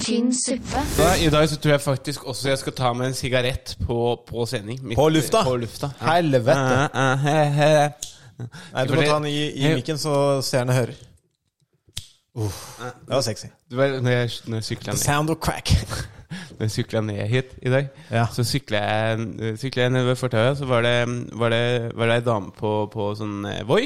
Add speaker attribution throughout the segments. Speaker 1: tynn suppe.
Speaker 2: Da, I dag så tror jeg faktisk også jeg skal ta meg en sigarett på, på sending. Midt-
Speaker 3: På lufta?
Speaker 2: På lufta.
Speaker 3: Helvete.
Speaker 2: Eh, eh, he, he.
Speaker 3: Nei, du må ta den i, i mikken, så seerne hører. det var sexy.
Speaker 2: Du vet, når jeg, når jeg sykla
Speaker 3: The
Speaker 2: ned,
Speaker 3: sound of crack.
Speaker 2: når jeg syklet ned hit i dag,
Speaker 3: Ja.
Speaker 2: så sykla jeg, syklet jeg ned ved fortauet, så var det, var det, var det ei dame på, på sånn eh, Voi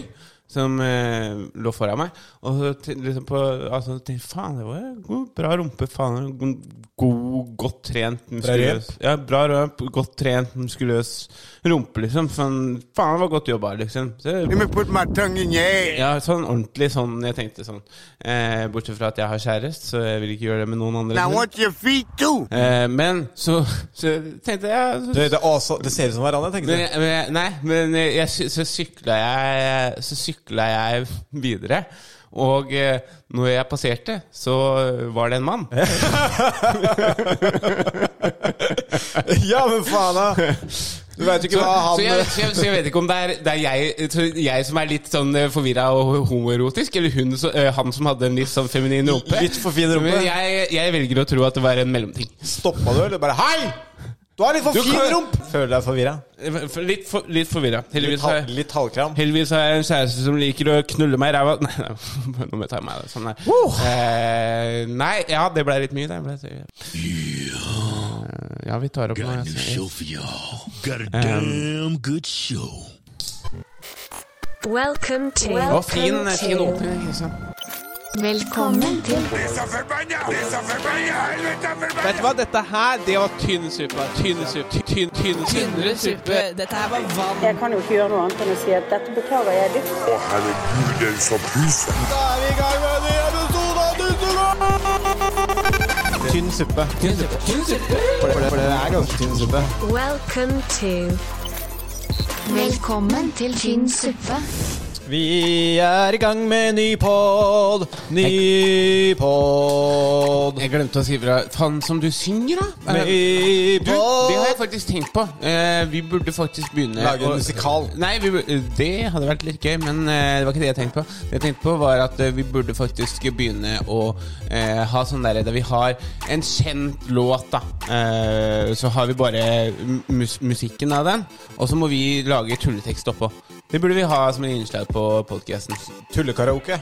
Speaker 2: som eh, lå foran meg. Og så ten- liksom på, altså, tenkte jeg faen, det var en god, bra rumpe. Faen, en god, godt trent, muskuløs Ja, bra rømp, godt trent, muskuløs rumpe, liksom. Sånn, faen, det var godt jobba, liksom. Så, Ja, sånn ordentlig sånn jeg tenkte sånn. Eh, bortsett fra at jeg har kjæreste, så jeg vil ikke gjøre det med noen andre. Eh, men så, så tenkte jeg så,
Speaker 3: Du, det, er også, det ser ut som hverandre, tenker
Speaker 2: men,
Speaker 3: du.
Speaker 2: jeg- men, jeg- Nei, men jeg, jeg sy- så sykla jeg Så sykla jeg videre. Og eh, når jeg passerte, så var det en mann.
Speaker 3: Ja, men faen, da! Du veit jo
Speaker 2: Så,
Speaker 3: ikke
Speaker 2: så,
Speaker 3: hva
Speaker 2: jeg,
Speaker 3: han
Speaker 2: så, jeg, så jeg vet ikke om det er, det er jeg, så jeg som er litt sånn forvirra og homoerotisk, eller hun, som- eh, han som hadde en litt sånn feminin rumpe.
Speaker 3: Litt for fin rumpe.
Speaker 2: Men jeg, jeg velger å tro at det var en mellomting.
Speaker 3: Stoppa du, eller bare Hei! Du har litt for
Speaker 2: Du
Speaker 3: fin
Speaker 2: kan-
Speaker 3: rump! Føler deg forvirra.
Speaker 2: Eh, For- Litt, for, litt forvirra.
Speaker 3: Litt,
Speaker 2: Heldigvis,
Speaker 3: hal-
Speaker 2: har jeg-
Speaker 3: litt halvkram.
Speaker 2: heldigvis har jeg en kjæreste som liker å knulle meg i ræva Nei, nei, nå må jeg ta meg av det. Sånn der. Eh, nei, ja, det ble litt mye. Det ble, Eh, ja, vi tar opp noe.
Speaker 4: Got a new
Speaker 2: altså.
Speaker 4: show for y'all. Got a damn good show.
Speaker 5: Welcome to.
Speaker 2: Å, fin, fin åpning. Kristian.
Speaker 1: Velkommen til
Speaker 2: Vet du hva, dette her, det var tynn suppe. Tynn suppe. Tynn, tynn, tynnere suppe.
Speaker 6: Dette her var vann.
Speaker 7: Jeg kan jo ikke gjøre noe annet enn å si at dette beklager jeg dypt.
Speaker 3: Da er vi i gang med en ny episode av Nussegård! Tynn suppe. Tynn suppe. For, det, for det er ganske tynn suppe.
Speaker 5: Welcome to.
Speaker 1: Velkommen til tynn suppe.
Speaker 3: Vi er i gang med ny pod, ny pod.
Speaker 2: Jeg glemte å si fra. Faen som du synger, da!
Speaker 3: Ny
Speaker 2: Du, det har jeg
Speaker 3: pod.
Speaker 2: faktisk tenkt på. Eh, vi burde faktisk begynne
Speaker 3: Lage en
Speaker 2: å-
Speaker 3: musikal.
Speaker 2: Nei, vi, bur- eh, det hadde vært litt gøy, men eh, det var ikke det jeg tenkte på. Det jeg tenkte på var at eh, vi burde faktisk begynne å eh, ha sånn der der vi har en kjent låt, da. Eh, så har vi bare mu- mus musikken av den, og så må vi lage tulletekst oppå. Det burde vi ha som en innslag på podkasten.
Speaker 3: Tullekaraoke.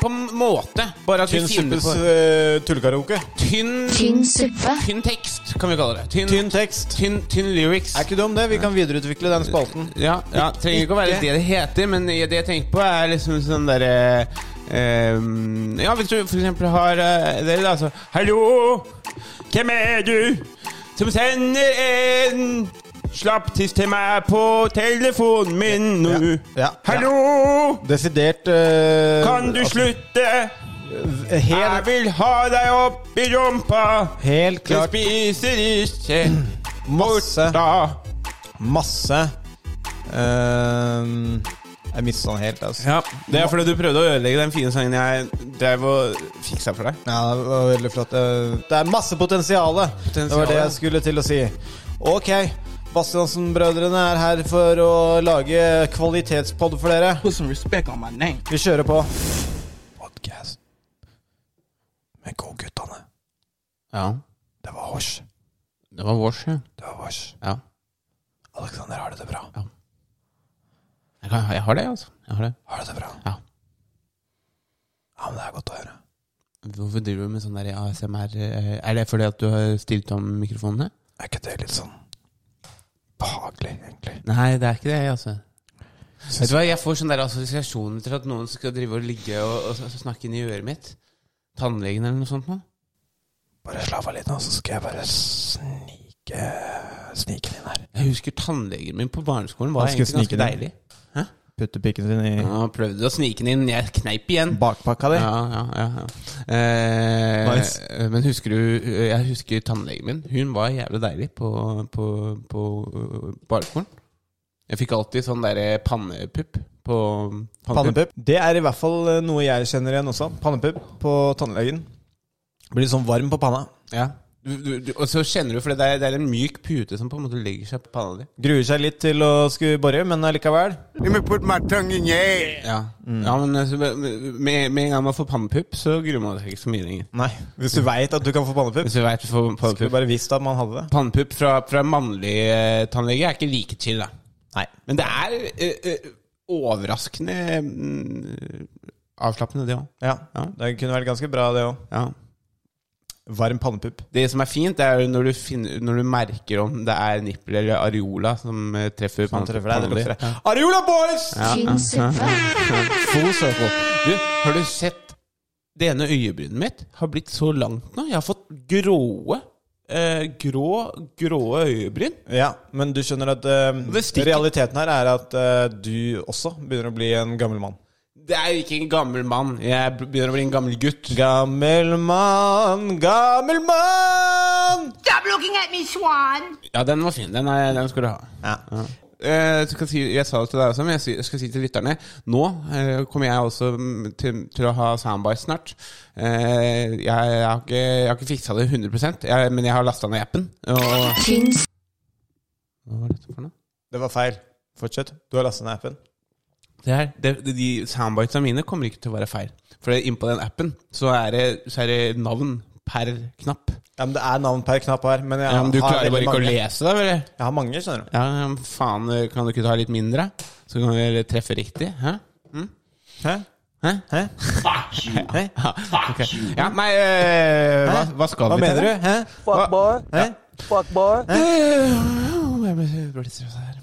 Speaker 2: På en måte. Bare at
Speaker 3: Tynn
Speaker 2: vi finner
Speaker 3: suppes
Speaker 2: på
Speaker 3: eh, tullekaraoke.
Speaker 2: tynn,
Speaker 1: Tynn suppe.
Speaker 2: tynn tekst, kan vi kalle det. Tynn,
Speaker 3: Tynn tekst.
Speaker 2: tynn, tynn lyrics.
Speaker 3: Er ikke dum, det. Vi kan videreutvikle den spalten.
Speaker 2: Ja, ja trenger ikke å være det det heter, men det jeg tenker på, er liksom sånn derre eh, Ja, hvis du for eksempel har eh, dere, da, så Hallo, hvem er du som sender en slapptiss til meg på telefonen min nå?
Speaker 3: Ja, ja.
Speaker 2: Hallo,
Speaker 3: Desidert eh,
Speaker 2: kan du
Speaker 3: altså, eh,
Speaker 2: slutte? Jeg
Speaker 3: Helt,
Speaker 2: vil ha deg opp i rumpa.
Speaker 3: helt
Speaker 2: Jeg
Speaker 3: klart
Speaker 2: spiser ikke
Speaker 3: masse
Speaker 2: da.
Speaker 3: Masse eh, Jeg mista den helt, altså.
Speaker 2: Ja, Det er fordi du prøvde å ødelegge den fine sangen jeg drev og fiksa for deg.
Speaker 3: Ja, det var veldig flott. Eh, Det er masse potensial. Det var det jeg skulle til å si. Ok, Bastiansen-brødrene er her for å lage kvalitetspod for dere.
Speaker 6: Put some respect on my name.
Speaker 3: Vi kjører på. Podcast med Go-guttene.
Speaker 2: Ja,
Speaker 3: Det var Hors.
Speaker 2: det var vårs, ja.
Speaker 3: Det var Hors.
Speaker 2: ja.
Speaker 3: Alexander har det det bra.
Speaker 2: Jeg, kan, jeg har det, altså. Jeg har det.
Speaker 3: Har det det bra?
Speaker 2: Ja.
Speaker 3: Ja, men det er godt å høre.
Speaker 2: Hvorfor driver du med sånn der ASMR? eh, Er det fordi at du har stilt om mikrofonene?
Speaker 3: Er ikke det litt sånn behagelig, egentlig?
Speaker 2: Nei, det er ikke det, altså. Vet du hva, Jeg får sånn der assosiasjoner til at noen skal drive og ligge og, og s- snakke inn i øret mitt. Tannlegen eller noe sånt noe.
Speaker 3: Bare slapp av litt nå, så skal jeg bare snike Snike inn her.
Speaker 2: Jeg husker tannlegen min på barneskolen var
Speaker 3: Han skulle
Speaker 2: egentlig ganske
Speaker 3: snike den
Speaker 2: deilig.
Speaker 3: Putte pikken sin i
Speaker 2: Han prøvde å snike den inn, jeg kneip igjen.
Speaker 3: bakpakka di.
Speaker 2: Mm. Ja, ja, ja, ja. Eh,
Speaker 3: Nice.
Speaker 2: eh, Men husker du Jeg husker tannlegen min. Hun var jævlig deilig på, på, på øh, barneskolen. Jeg fikk alltid sånn derre pannepupp på
Speaker 3: Pannepupp. Det er i hvert fall eh, noe jeg kjenner igjen også. Pannepupp på tannlegen. Blir litt sånn varm på panna.
Speaker 2: Ja. du, du, du, Og så kjenner du, for det er, det er en myk pute som på en måte legger seg på panna di.
Speaker 3: Gruer seg litt til å skulle bore, men allikevel.
Speaker 2: Ja,
Speaker 3: Mm.
Speaker 2: ja men altså, med, med med en gang man får pannepupp, så gruer man seg ikke så mye lenger.
Speaker 3: Nei, Hvis du veit at du kan få pannepupp,
Speaker 2: Hvis du vet du får
Speaker 3: skulle
Speaker 2: pannepupp.
Speaker 3: bare visst at man hadde det.
Speaker 2: Pannepupp fra, fra mannlig eh, tannlege er ikke like chill, da.
Speaker 3: Nei.
Speaker 2: Men det er eh, eh, overraskende mm, avslappende, det òg.
Speaker 3: Ja,
Speaker 2: Ja.
Speaker 3: Det kunne vært ganske bra, det òg.
Speaker 2: Ja.
Speaker 3: Varm pannepupp.
Speaker 2: Det som er fint, det er jo når du, finner, når du merker om det er nippel eller areola som eh, treffer
Speaker 3: Man
Speaker 2: panna
Speaker 3: treffer deg, det
Speaker 2: di.
Speaker 3: lukter det. Areola boys!
Speaker 1: Finns ikke.
Speaker 2: Full circle. Du, har du sett Det ene øyebrynet mitt har blitt så langt nå. Jeg har fått gråe eh, Grå, gråe øyebryn.
Speaker 3: Ja, men du skjønner at eh,
Speaker 2: Det stikker.
Speaker 3: realiteten her er at eh, du også begynner å bli en gammel mann.
Speaker 2: Det er ikke en gammel mann. Jeg begynner å bli en gammel gutt.
Speaker 3: Gammel mann, gammel mann!
Speaker 2: Ja, den var fin. Den, er, den skal du ha.
Speaker 3: Ja.
Speaker 2: Eh, jeg, skal si, jeg sa det til deg også, men jeg si- jeg skal si til lytterne Nå eh, kommer jeg også mm, til, til å ha soundbite snart. Eh, jeg, jeg har ikke, jeg har ikke fiksa det 100 jeg, men jeg har lasta ned appen. Og,
Speaker 1: Finns
Speaker 2: hva var dette for noe?
Speaker 3: Det var feil. Fortsett. Du har lastet ned appen.
Speaker 2: Det her, det, det, de soundbitesa mine kommer ikke til å være feil. For det- innpå den appen så er det, så er det navn per knapp.
Speaker 3: Ja, men Det er navn per knapp her. Men jeg
Speaker 2: Ja, men du
Speaker 3: har
Speaker 2: klarer
Speaker 3: veldig
Speaker 2: bare ikke å
Speaker 3: mange.
Speaker 2: lese det? Eller?
Speaker 3: Jeg har mange, skjønner du.
Speaker 2: Ja, men faen, kan du ikke ta litt mindre? Så kan vi treffe riktig? Hæ?
Speaker 3: Hæ?
Speaker 2: Hæ?
Speaker 3: Hæ? Hæ?
Speaker 2: Ja, ok. ja nei, eh, hva, hva skal
Speaker 3: Hva
Speaker 2: vi
Speaker 3: mener du? Hæ?
Speaker 8: Fuckboy.
Speaker 3: Hæ?
Speaker 8: Fuckboy.
Speaker 2: Eh, Jeg ble jeg ble litt stressa her.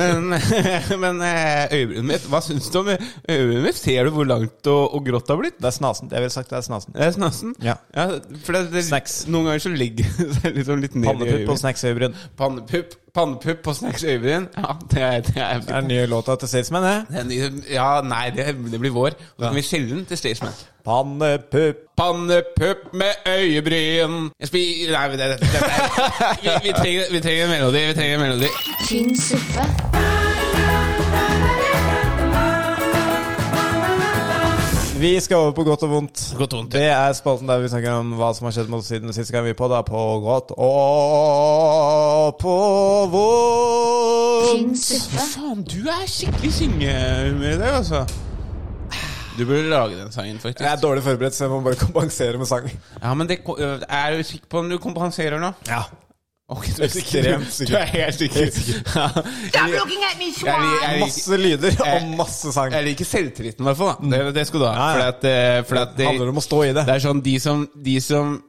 Speaker 2: men men eh, øyebrynet mitt, hva syns du om øyebrynet mitt? Ser du hvor langt og, og grått det har blitt?
Speaker 3: Det er snasen. Jeg ville sagt det er snasen.
Speaker 2: Det er snasen.
Speaker 3: Ja.
Speaker 2: for det, det,
Speaker 3: Snacks.
Speaker 2: Noen ganger så ligger det seg liksom litt ned i
Speaker 3: Pannepupp og
Speaker 2: øyebryn.
Speaker 3: snacksøyebryn.
Speaker 2: Pannepupp pannepupp på snacks øyebryn. Ja, det er, det er,
Speaker 3: Det er den nye låta til Statesman, det.
Speaker 2: det er ny- Ja, nei, det, det blir vår. Så kan vi selge den til Staysman.
Speaker 3: Pannepupp.
Speaker 2: Pannepupp med øyebryn Jeg spir... Nei, men det, det, det, vi, vi, trenger, vi trenger en melodi. Vi trenger en melodi.
Speaker 1: Finns ikke.
Speaker 3: Vi skal over på godt og vondt.
Speaker 2: Godt og vondt.
Speaker 3: Det er spalten der vi snakker om hva som har skjedd med oss siden sist gang vi på. Da på godt og på vondt.
Speaker 1: Finns ikke.
Speaker 2: Faen, du er skikkelig syngehumør i dag, altså. Du burde lage den sangen, faktisk.
Speaker 3: Jeg er dårlig forberedt, så jeg må bare kompensere med sang.
Speaker 2: Ja, men det, ko- Er du sikker på om du kompenserer nå?
Speaker 3: Ja.
Speaker 2: Ok, du er
Speaker 3: Ekstremt sikker.
Speaker 2: Du er helt sikker. Ja. Jeg, jeg, jeg, liker-
Speaker 3: Masse lyder og
Speaker 2: Jeg-
Speaker 3: masse sang.
Speaker 2: jeg liker selvtilliten, i hvert fall. da. Det, det skal du ha.
Speaker 3: Ja, ja.
Speaker 2: Fordi at, eh, fordi at
Speaker 3: Det handler om å stå i det.
Speaker 2: Det er sånn, de som, de som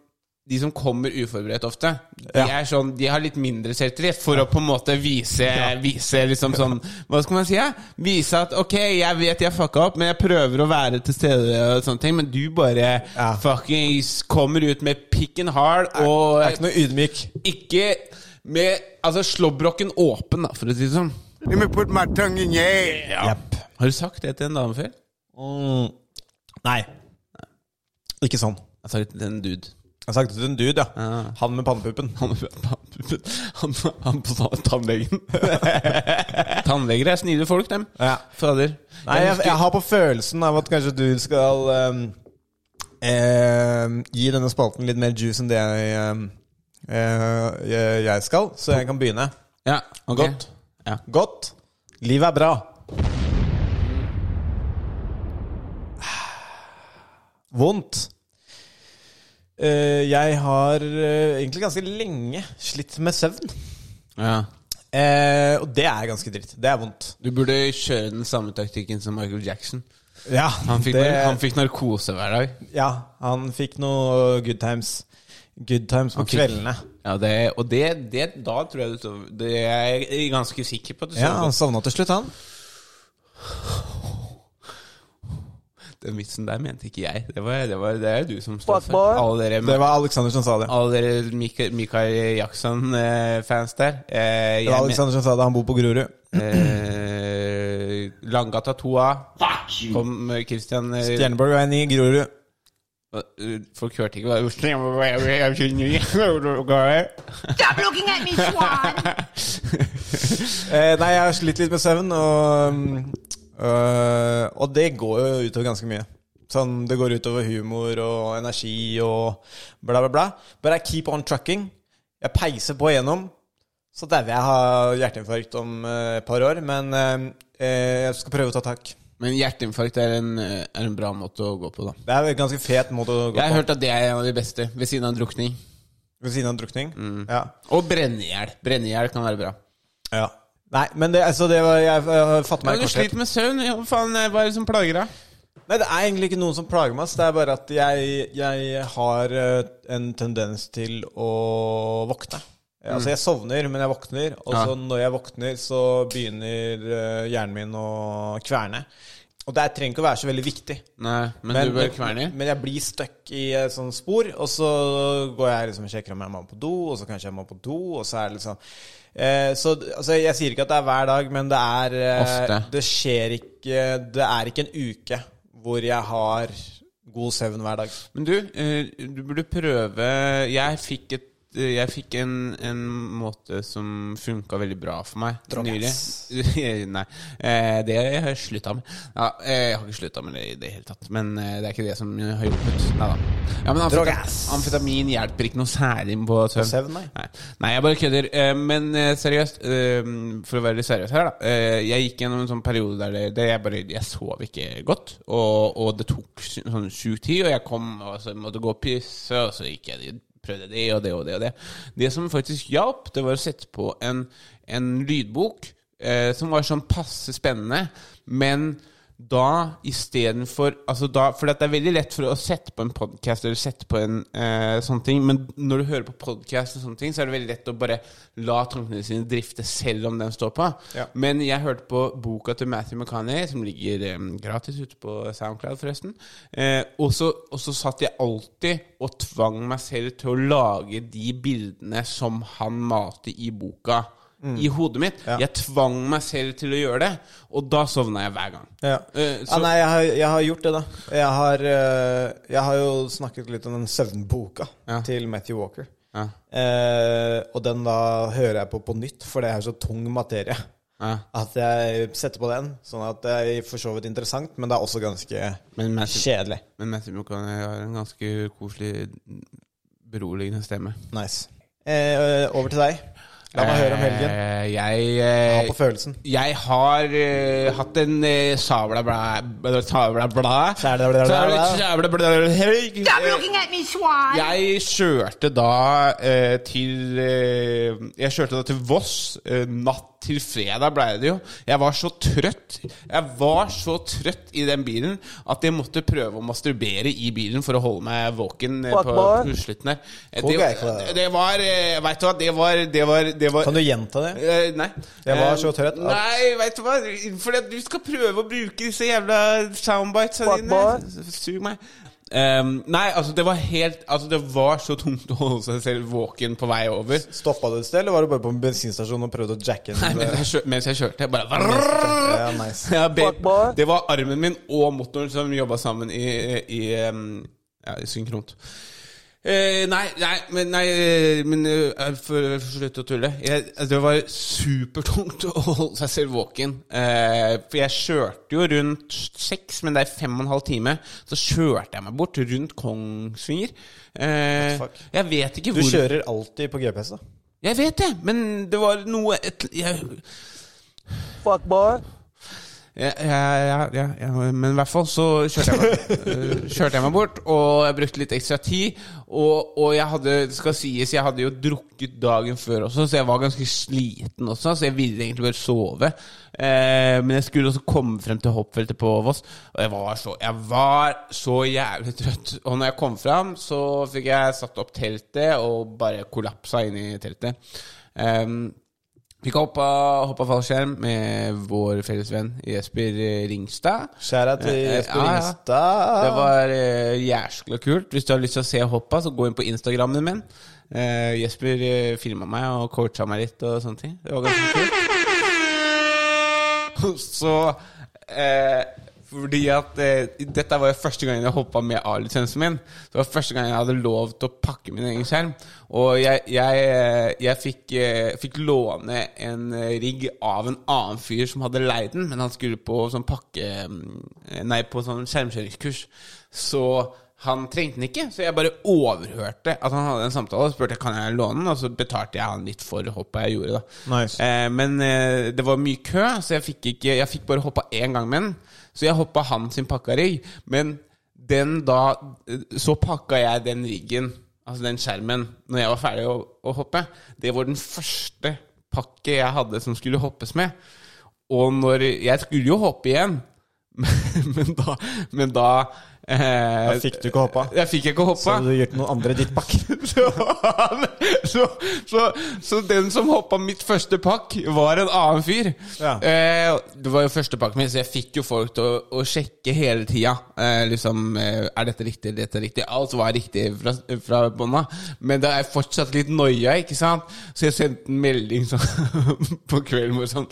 Speaker 2: de som kommer uforberedt ofte, de,
Speaker 3: Ja.
Speaker 2: er sånn, de har litt mindre selvtillit for å på en måte vise, vise liksom sånn Hva skal man si? Ja? Vise at ok, jeg vet jeg fucka opp, men jeg prøver å være til stede, og sånne ting men du bare
Speaker 3: Ja.
Speaker 2: fuckings kommer ut med picken hard og
Speaker 3: Jeg er ikke noe ydmyk.
Speaker 2: ikke med altså, slåbroken åpen, da, for å si det sånn.
Speaker 3: Jepp.
Speaker 2: Har du sagt det til en dame før?
Speaker 3: Mm. Nei. Ikke sånn.
Speaker 2: Jeg sa det til en dude.
Speaker 3: Jeg har sagt det til en dude, ja. Ah. Han med pannepuppen.
Speaker 2: Han, han, han, han på tann- tannlegen. Tannleger er snille folk, dem.
Speaker 3: Ja.
Speaker 2: Fader.
Speaker 3: Nei, jeg, jeg har på følelsen av at kanskje du skal ehm, ehm, gi denne spalten litt mer juice enn det jeg, ehm, eh, jeg, jeg skal, så jeg kan begynne.
Speaker 2: Ja, ok.
Speaker 3: Godt.
Speaker 2: Ja.
Speaker 3: Godt. Livet er bra. Vondt. Eh, jeg har eh, egentlig ganske lenge slitt med søvn.
Speaker 2: Ja.
Speaker 3: Eh, og det er ganske dritt. Det er vondt.
Speaker 2: Du burde kjøre den samme taktikken som Michael Jackson.
Speaker 3: Ja,
Speaker 2: Han fikk,
Speaker 3: det,
Speaker 2: han fikk narkose hver dag.
Speaker 3: Ja, han fikk noe good times. Good times på
Speaker 2: Han fikk-
Speaker 3: kveldene.
Speaker 2: Ja, det, og det, det da tror jeg du sover Det er jeg ganske sikker på at du
Speaker 3: Ja,
Speaker 2: sover
Speaker 3: Han
Speaker 2: godt.
Speaker 3: sovna til slutt, han.
Speaker 2: Den vitsen der mente ikke jeg. Det, var, det, var, det er jo du som står
Speaker 8: Fuck
Speaker 2: for
Speaker 8: boy.
Speaker 2: alle dere
Speaker 3: Det var Alexander som sa det.
Speaker 2: alle dere Mika- Michael Jackson-fans der. Eh,
Speaker 3: Det
Speaker 2: jeg
Speaker 3: var
Speaker 2: men-
Speaker 3: liksom Alexander som sa det, Han bor på Grorud.
Speaker 2: Eh, Langgata 2A. Kom eh, Christian eh,
Speaker 3: Stjerneborgveien i Grorud.
Speaker 2: eh, Folk hørte ikke hva det
Speaker 3: Eh, nei, jeg har eh, slitt litt med søvn, og mm, øh, Og det går jo utover ganske mye. Sånn, det går utover humor og energi og bla, bla, bla. But I keep on trucking. Jeg peiser på igjennom. Så dauer jeg av hjerteinfarkt om eh, et par år, men eh, jeg skal prøve å ta tak.
Speaker 2: Men hjerteinfarkt er en, eh, er en bra måte å gå på, da.
Speaker 3: Det er en ganske fet måte å gå
Speaker 2: Jeg har
Speaker 3: på.
Speaker 2: hørt at det er en av de beste, ved siden av drukning.
Speaker 3: Ved siden av drukning.
Speaker 2: Mm.
Speaker 3: Ja.
Speaker 2: Og brenne i hjel. Brenne i hjel kan være bra.
Speaker 3: ja. Nei, men det, altså, det var, jeg, jeg fatter
Speaker 2: Men
Speaker 3: meg
Speaker 2: du
Speaker 3: i korthet.
Speaker 2: sliter med søvn. ja, Hva faen, eh, hva er det som plager deg?
Speaker 3: Nei, det er egentlig ikke noen som plager meg. ass. Det er bare at jeg, jeg har eh, en tendens til å våkne. Eh, Altså, jeg sovner, men jeg våkner. Og så
Speaker 2: Mm. Ja.
Speaker 3: når jeg våkner, så begynner eh, hjernen min å kverne. Og det trenger ikke å være så veldig viktig.
Speaker 2: Nei, men, du bør kverne i.
Speaker 3: men jeg blir stuck i et sånt spor, og så går jeg liksom og sjekker om jeg må på do, og så kanskje jeg må på do, og så er det liksom eh, Så altså, jeg sier ikke at det er hver dag, men det er eh,
Speaker 2: Ofte.
Speaker 3: Det skjer ikke Det er ikke en uke hvor jeg har god søvn hver dag.
Speaker 2: Men du, eh, du burde prøve Jeg fikk, et, eh, jeg fikk en, en måte som funka veldig bra for meg nylig.
Speaker 3: Drogas.
Speaker 2: Nei, eh, det har jeg slutta med. Ja, eh, jeg har ikke slutta med det i det hele tatt, men eh, det er ikke det som har hjulpet. Neida. Ja, men amfetamin,
Speaker 3: Drogas.
Speaker 2: amfetamin hjelper ikke noe særlig på søvn.
Speaker 3: søvn, nei.
Speaker 2: Nei. Nei, jeg bare kødder. Eh, Men eh, seriøst, eh, for å være litt seriøs her, da. eh, Jeg gikk gjennom en sånn periode der det- det jeg bare Jeg sov ikke godt, og, og det tok sy- sånn sjuk tid, og jeg kom og så måtte gå og pisse, og så gikk jeg dit, prøvde det og det og det og det. Det som faktisk hjalp, det var å sette på en, en lydbok eh, som var sånn passe spennende, men da istedenfor altså da, For det er veldig lett for å sette på en podkast eller sette på en eh, sånn ting, men når du hører på podkast og sånne ting, så er det veldig lett å bare la tankene sine drifte selv om den står på.
Speaker 3: Ja.
Speaker 2: Men jeg hørte på boka til Matthew McCanney, som ligger eh, gratis ute på SoundCloud, forresten. Eh, og, så, og så satt jeg alltid og tvang meg selv til å lage de bildene som han malte i boka. I hodet mitt. Jeg tvang meg selv til å gjøre det, og da sovna jeg hver gang.
Speaker 3: Ja.
Speaker 2: Eh, så-
Speaker 3: ja, nei, jeg har, jeg har gjort det, da. Jeg har, eh, jeg har jo snakket litt om den søvnboka
Speaker 2: Ja.
Speaker 3: til Matthew Walker.
Speaker 2: Ja.
Speaker 3: Eh, og den da hører jeg på på nytt, for det er så tung materie.
Speaker 2: Ja.
Speaker 3: At jeg setter på den, sånn at det er for så vidt interessant, men det er også ganske
Speaker 2: Men Matthew,
Speaker 3: kjedelig.
Speaker 2: men Matthew McConaughey har en ganske koselig, beroligende stemme.
Speaker 3: Nice. Eh, over til deg. La meg høre om helgen.
Speaker 2: Eh, jeg,
Speaker 3: Ha
Speaker 2: eh,
Speaker 3: på følelsen.
Speaker 2: jeg har eh, hatt en eh, sabla blæ Sabla blæ
Speaker 3: Sabla blæ-
Speaker 2: Sabla blæ- helg. Jeg kjørte da eh, til eh, Jeg kjørte da til Voss eh, natt til fredag, ble det jo. Jeg var så trøtt. Jeg var så trøtt i den bilen at jeg måtte prøve å masturbere i bilen for å holde meg våken eh, på, på slutten her. Eh,
Speaker 3: Fuck, jeg er
Speaker 2: Det,
Speaker 3: ikke det.
Speaker 2: det var eh, Vet du hva, det var, det var, det var
Speaker 3: Kan du gjenta det?
Speaker 2: Eh, nei.
Speaker 3: Jeg var
Speaker 2: Eh,
Speaker 3: så trøtt at-
Speaker 2: Nei, veit du hva. Fordi at du skal prøve å bruke disse jævla soundbitesa dine. Sug meg. Ehm, nei, altså det var helt Altså det var så tungt å holde seg selv våken på vei over.
Speaker 3: Stoppa du et sted, eller var du bare på en bensinstasjon og prøvde å jacke
Speaker 2: Nei,
Speaker 3: inn?
Speaker 2: mens jeg, kjør, mens jeg kjørte, jeg bare
Speaker 3: Ja, nice.
Speaker 2: ja, babe, Det var armen min og motoren som jobba sammen i, i, ehm, ja, i synkront. Eh, nei, nei, men, nei, eh, men eh, for, for slutt å tulle. Jeg, det var supertungt å holde seg selv våken. Eh, for jeg kjørte jo rundt seks, men det er fem og en halv time. Så kjørte jeg meg bort rundt Kongsvinger. Eh,
Speaker 3: Fuck.
Speaker 2: jeg vet ikke
Speaker 3: Du
Speaker 2: hvor
Speaker 3: kjører alltid på GPS, da.
Speaker 2: Jeg vet det, men det var noe et, jeg, Ja, ja, ja, ja, ja, men i hvert fall så kjørte jeg, meg, eh, kjørte jeg meg bort, og jeg brukte litt ekstra tid. Og, og jeg hadde, det skal sies, jeg hadde jo drukket dagen før også, så jeg var ganske sliten også. Så jeg ville egentlig bare sove. Eh, men jeg skulle også komme frem til hoppfeltet på Voss, og jeg var så, jeg var så jævlig trøtt. Og når jeg kom fram, så fikk jeg satt opp teltet og bare kollapsa inn i teltet. Eh, vi kan hoppe, hoppe fallskjerm med vår felles venn Jesper eh, Ringstad.
Speaker 3: Skjæra til
Speaker 2: Eh, eh,
Speaker 3: Jesper
Speaker 2: ja, ja. Det
Speaker 3: Ringstad.
Speaker 2: var eh, jæskla kult. Hvis du har lyst til å se hoppa, så gå inn på Instagrammen min. Eh, Jesper eh, filma meg og coacha meg litt og sånne ting. Det var ganske kult. Så eh, Fordi at eh, Dette var jo første gangen jeg hoppa med A-lisensen min. Det var første gangen jeg hadde lov til å pakke min egen skjerm. Og jeg, jeg, eh, jeg fikk, eh, fikk låne en eh, rigg av en annen fyr som hadde leid den, men han skulle på sånn pakke... eh, Nei, på sånn skjermkjøringskurs. Så han trengte den ikke, så jeg bare overhørte at han hadde en samtale. Og spurte kan jeg låne den, og så betalte jeg han litt for hoppet jeg gjorde. da
Speaker 3: Nice.
Speaker 2: eh, Men eh, det var mye kø, så jeg fikk, ikke, jeg fikk bare hoppa én gang med den. Så jeg hoppa han sin pakka rigg. Men den da Så pakka jeg den riggen, altså den skjermen, når jeg var ferdig å, å hoppe. Det var den første pakke jeg hadde som skulle hoppes med. Og når Jeg skulle jo hoppe igjen, men, men da, men da eh,
Speaker 3: Da fikk du ikke hoppa.
Speaker 2: Jeg fikk ikke hoppa.
Speaker 3: Så du gjør til noen andre i ditt pakk.
Speaker 2: Så, han, så, så, så den som hoppa mitt første pakk, var en annen fyr.
Speaker 3: Ja.
Speaker 2: Eh, det var jo første pakken min, så jeg fikk jo folk til å, å sjekke hele tida. Eh, liksom, eh, er dette riktig, er dette riktig? Alt var riktig fra, fra bånda. Men det er fortsatt litt noia, ikke sant? Så jeg sendte en melding sånn, på kvelden hvor sånn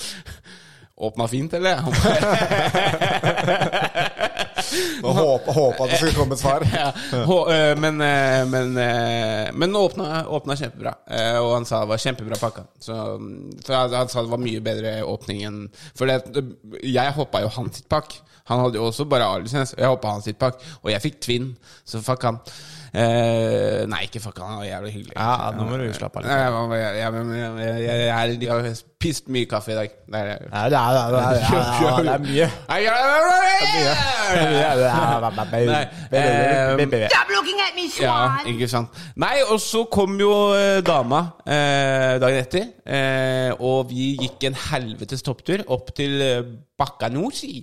Speaker 2: Åpna fint, eller? Han bare,
Speaker 3: Og håpa, håpa det skulle komme et svar.
Speaker 2: Ja, hå- eh, men, eh, men, eh, men åpna, åpna kjempebra, Eh, og han sa det var kjempebra pakka. Så, for han, han sa det var mye bedre åpning enn For det, jeg hoppa jo hans sitt pakk. Han hadde jo også bare A-lisens, og jeg hoppa hans sitt pakk. Og jeg fikk twin, så fuck han. Eh, nei, ikke fuck han, han var jævlig hyggelig.
Speaker 3: Ja, nå må du slappe av litt.
Speaker 2: Nei, jeg, jeg, jeg, jeg, jeg, jeg, jeg, har spist mye kaffe i dag. Det er det.
Speaker 3: Ja, det er, det er, det er, ja, det er mye.
Speaker 2: Nei, jeg- jeg- jeg- jeg- jeg-
Speaker 3: Nei, eh,
Speaker 2: Ja, ikke sant. Nei, og så kom jo eh, dama eh, dagen etter. Eh, og vi gikk en helvetes topptur opp til eh, Bakkanusi.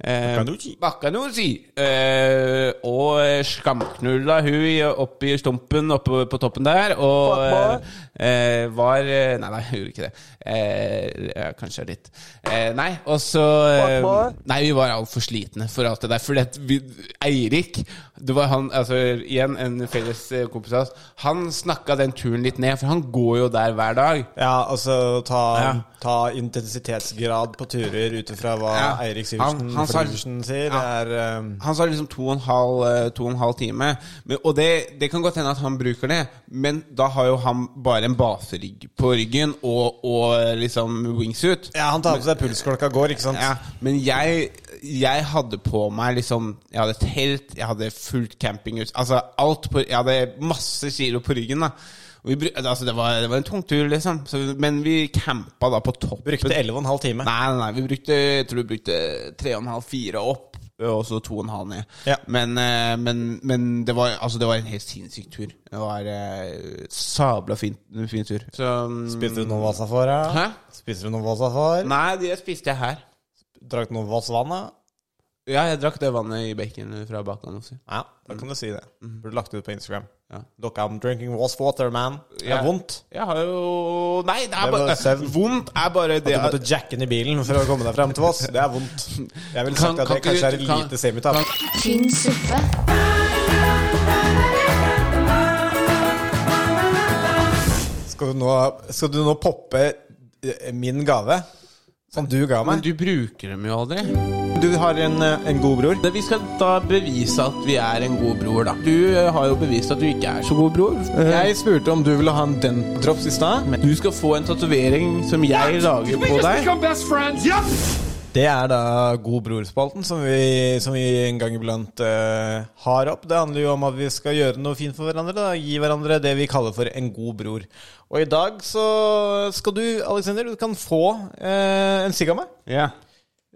Speaker 2: Eh,
Speaker 3: Bakkanusi.
Speaker 2: Bakkanusi. Eh, og eh, skamknulla hun i- oppi stumpen oppe på toppen der. Og eh, eh, var eh, Nei, nei, hun gjorde ikke det. Eh, ja, kanskje litt. Eh, nei, og så eh, Nei, vi var altfor slitne for alt det der. For det, vi, Eirik, det var han altså igjen en felles eh, kompis av oss, han snakka den turen litt ned, for han går jo der hver dag.
Speaker 3: ja, altså ta,
Speaker 2: Ja.
Speaker 3: ta intensitetsgrad på turer ut ifra hva
Speaker 2: Ja.
Speaker 3: Eirik
Speaker 2: Han-
Speaker 3: Sivertsen
Speaker 2: han sa-
Speaker 3: Flyversen sier.
Speaker 2: Ja.
Speaker 3: Det er um,
Speaker 2: Han sa liksom to og en halv, eh, to og en halv time. Men, og det, det kan godt hende at han bruker det, men da har jo han bare en baserygg på ryggen og, og eh, liksom wingsuit.
Speaker 3: Ja, han tar på seg pulsklokka går, ikke sant?
Speaker 2: Ja, men jeg, jeg hadde på meg liksom Jeg hadde telt, jeg hadde fullt campinghus Altså alt på Jeg hadde masse kilo på ryggen da Og vi, bru- altså, det, var, det var en tung tur liksom så, Men vi campa da på toppen
Speaker 3: Brukte 11,5 time.
Speaker 2: Nei, nei, nei Vi brukte Jeg tror vi brukte 3,5-4 opp Og så 2,5 ned
Speaker 3: Ja.
Speaker 2: men, eh, men, men det var Altså det var en helt sinnssyk tur Det var eh, sabla fin, fin tur så,
Speaker 3: Spiser du noe Vassafor? ja?
Speaker 2: Hæ?
Speaker 3: Spiser du noe Vassafor?
Speaker 2: Nei, det spiste jeg her
Speaker 3: Drakk noe Vassvann? da?
Speaker 2: Ja, jeg drakk det vannet i bacon fra bakan også.
Speaker 3: Ja, da kan du si det. Burde lagt det ut på Instagram.
Speaker 2: Mhm. Ja.
Speaker 3: Dere, I'm drinking Wasswater, man. Det er
Speaker 2: Ja.
Speaker 3: vondt.
Speaker 2: Jeg har jo Nei, det er
Speaker 3: Det var
Speaker 2: bare
Speaker 3: søvn.
Speaker 2: Vondt er bare
Speaker 3: Du
Speaker 2: det
Speaker 3: måtte jacke den i bilen for å komme deg frem til Voss. Det er vondt. Jeg ville
Speaker 2: Kan-
Speaker 3: sagt at det
Speaker 2: kan ikke
Speaker 3: kanskje er
Speaker 2: du-
Speaker 3: et
Speaker 2: kan-
Speaker 3: lite semitap.
Speaker 1: tynn suppe,
Speaker 3: Skal du nå, skal du nå poppe eh, min gave? Som du ga
Speaker 2: Men
Speaker 3: meg?
Speaker 2: du bruker dem jo aldri.
Speaker 3: Du har en, eh, en god bror.
Speaker 2: Men Vi skal da bevise at vi er en god bror, da. Du eh, har jo bevist at du ikke er så god bror. Jeg,
Speaker 3: Jeg spurte om du ville ha en dentdrops i stad.
Speaker 2: du skal få en tatovering som jeg lager på deg.
Speaker 3: Det er da God bror-spalten, som, vi- som vi en gang iblant eh, har opp. Det handler jo om at vi skal gjøre noe fint for hverandre. Da. Gi hverandre det vi kaller for en god bror. Og i dag så skal du, Aleksander, du kan få eh, en sigg av meg.
Speaker 2: Ja.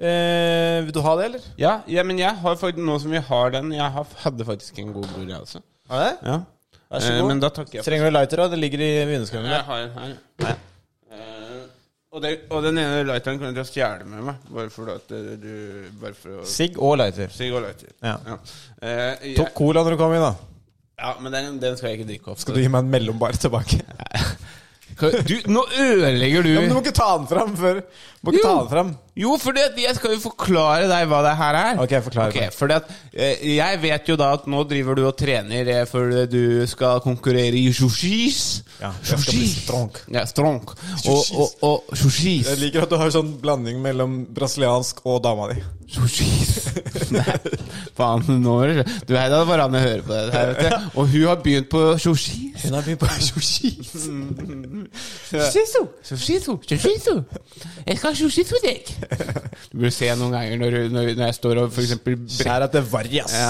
Speaker 3: Eh, vil du ha det, eller?
Speaker 2: Ja, ja, men jeg har faktisk nå som vi har den Jeg har, hadde faktisk en god bror, jeg også.
Speaker 3: Har jeg det?
Speaker 2: Ja.
Speaker 3: Vær så god.
Speaker 2: Eh, men da takker jeg.
Speaker 3: Trenger du lighter, da? Det ligger i vinduskarmen.
Speaker 2: Jeg har en her. Eh, og, det, og den ene lighteren kan du stjele med meg, bare for at eh, du Bare for å
Speaker 3: Sigg og lighter.
Speaker 2: Sigg og lighter.
Speaker 3: Ja.
Speaker 2: Eh, jeg-
Speaker 3: Tok cola når du kom inn, da.
Speaker 2: Ja, men den, den skal jeg ikke drikke opp.
Speaker 3: Skal du gi meg en mellombart tilbake?
Speaker 2: Skal- Du, nå ødelegger du
Speaker 3: Ja, men du må ikke ta den fram før Må
Speaker 2: Jo.
Speaker 3: ikke ta den fram.
Speaker 2: Jo, for jeg skal jo forklare deg hva det her er.
Speaker 3: Ok, forklar
Speaker 2: Ok,
Speaker 3: meg.
Speaker 2: fordi at eh, Jeg vet jo da at nå driver du og trener eh, før du skal konkurrere i sushis.
Speaker 3: Ja, jeg skal bli strong.
Speaker 2: Ja, strong. Og, og, og sushis.
Speaker 3: Jeg liker at du har sånn blanding mellom brasiliansk og dama di.
Speaker 2: Sushis. Nei, faen. Nå er det Du er da hverandre hører på det her, vet du. Og hun har begynt på sushis.
Speaker 3: Hun har begynt på sushi.
Speaker 2: Sushisu, sushisu, sushisu. Jeg skal ha sushi til deg. Du burde se noen ganger når, hun- når, når jeg står og for eksempel bretter
Speaker 3: Kjære til Varjas.
Speaker 2: Ja.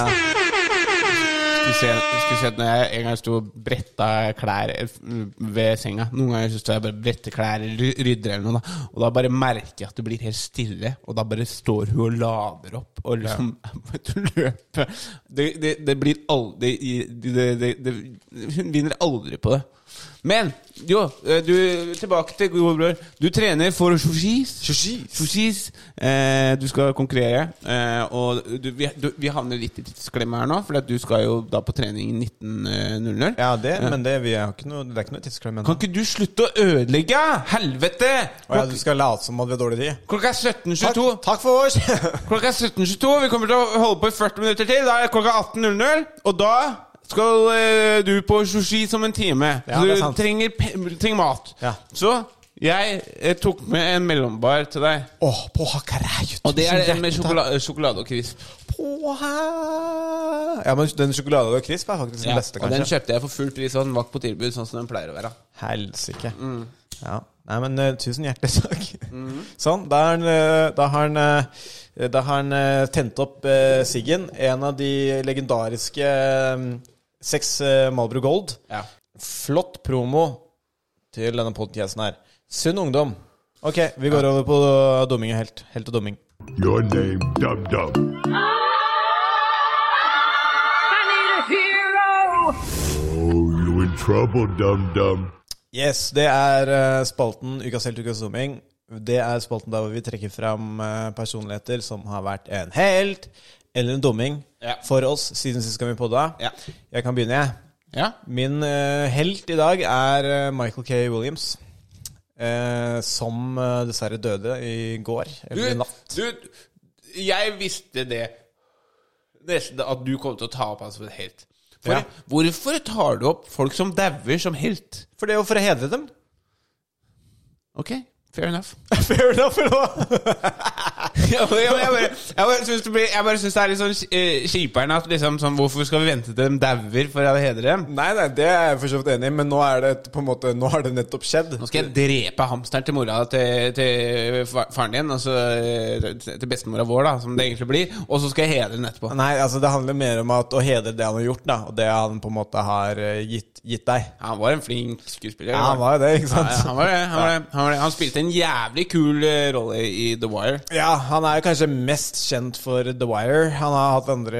Speaker 2: Skulle se, skulle se at når jeg en gang sto og bretta klær mm, ved senga Noen ganger så står jeg bare og bretter klær eller rydder eller noe, da. Og da bare merker jeg at det blir helt stille, og da bare står hun og lader opp og liksom vet du, løper. Det, det, det blir aldri det, det, det, det, Hun vinner aldri på det. Men jo, eh, du, tilbake til gode bror. Du trener for sushis. Sushis. Eh, du skal konkurrere. Eh, og du, vi, du, vi havner litt i tidsklemme her nå, for at du skal jo da på trening 19.00.
Speaker 3: Ja, det, men det, vi har ikke noe, det er ikke noe tidsklem ennå.
Speaker 2: Kan ikke du slutte å ødelegge? Helvete!
Speaker 3: Å ja, du skal late som at vi har dårlig tid?
Speaker 2: Klokka er 17.22.
Speaker 3: takk for oss!
Speaker 2: Klokka er 17.22. Vi kommer til å holde på i 40 minutter til. Da er det klokka 18.00. Og da skal eh, du på sushi som en time.
Speaker 3: Ja,
Speaker 2: Så
Speaker 3: det er
Speaker 2: du
Speaker 3: sant.
Speaker 2: trenger, pe- trenger mat.
Speaker 3: Ja.
Speaker 2: Så jeg eh, tok med en mellombar til deg.
Speaker 3: Åh, på Hakarajut.
Speaker 2: Og det er med sjokolade, sjokolade og krisp.
Speaker 3: På her Ja, men den sjokolade og krisp er faktisk den beste,
Speaker 2: og den
Speaker 3: kanskje.
Speaker 2: kjøpte jeg for fullt pris, og den var ikke på tilbud sånn som den pleier å være.
Speaker 3: Helsike. Ja. Nei, men eh, tusen hjertelig takk. Sånn. Da har han, eh, da har han, eh, da har han eh, tent opp eh, siggen. En av de legendariske eh, seks eh, Marlboro Gold.
Speaker 2: Ja.
Speaker 3: Flott promo til denne podcasten her. Sunn ungdom. Ok, vi går over på dumming og helt. Helt og dumming.
Speaker 4: Your name, Dub Dub. Oh, you in trouble, Dum Dum.
Speaker 3: Yes, det er eh, spalten Ukas helt, ukas dumming. Det er spalten der hvor vi trekker fram eh, personligheter som har vært en helt eller en dumming
Speaker 2: Ja.
Speaker 3: for oss siden sist gang vi podda.
Speaker 2: Ja.
Speaker 3: Jeg kan begynne, jeg.
Speaker 2: Ja.
Speaker 3: Min eh, helt i dag er eh, Michael K. Williams. eh, som eh, dessverre døde i går.
Speaker 2: Du,
Speaker 3: Eller i natt.
Speaker 2: du, jeg visste det Nesten at du kom til å ta opp han som en helt. For,
Speaker 3: Ja.
Speaker 2: Hvorfor tar du opp folk som dauer som helt?
Speaker 3: For det er jo for å hedre dem.
Speaker 2: Ok, fair enough.
Speaker 3: Fair enough, eller hva?
Speaker 2: Ja, men jeg, bare, jeg, bare synes det blir, jeg bare synes det er litt sånn eh, kjiperne at liksom sånn Hvorfor skal vi vente til de dauer for å hedre dem?
Speaker 3: Nei, nei, det er jeg for så vidt enig i, men nå er det på en måte Nå har det nettopp skjedd.
Speaker 2: Nå skal jeg drepe hamsteren til mora til, til fa- faren din, altså eh, til bestemora vår, da, som det egentlig blir, og så skal jeg hedre den etterpå.
Speaker 3: Nei, altså det handler mer om at, å hedre det han har gjort, da, og det han på en måte har eh, gitt, gitt deg.
Speaker 2: Han var en flink skuespiller.
Speaker 3: Ja, han var jo det, ikke
Speaker 2: Ja,
Speaker 3: sant?
Speaker 2: ja, han var det, han var det, han var det. Han spilte en jævlig kul eh, rolle i The Wire.
Speaker 3: Ja, han er jo kanskje mest kjent for The Wire. Han har hatt andre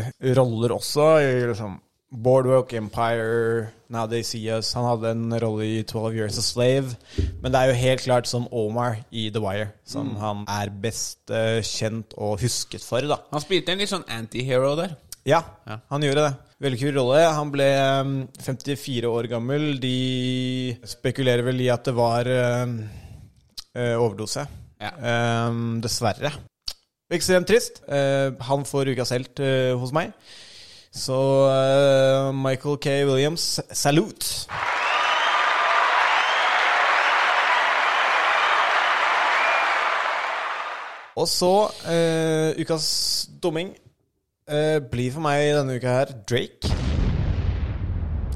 Speaker 3: eh, roller også, i liksom Boardwalk Empire, Now They See Us. Han hadde en rolle i 12 Years a Slave. Men det er jo helt klart som Omar i The Wire,
Speaker 2: Mm.
Speaker 3: som han er best eh, kjent og husket for, da.
Speaker 2: Han spilte en litt sånn antihero der.
Speaker 3: Ja,
Speaker 2: Ja.
Speaker 3: han gjorde det. Veldig kul rolle. Han ble um, 54 år gammel. De spekulerer vel i at det var um, eh, overdose. Um, dessverre. Ekstremt trist. Eh, han får ukas helt eh, hos meg. Så eh, Michael K. Williams, salute! Og så eh, ukas dumming eh, blir for meg denne uka her Drake.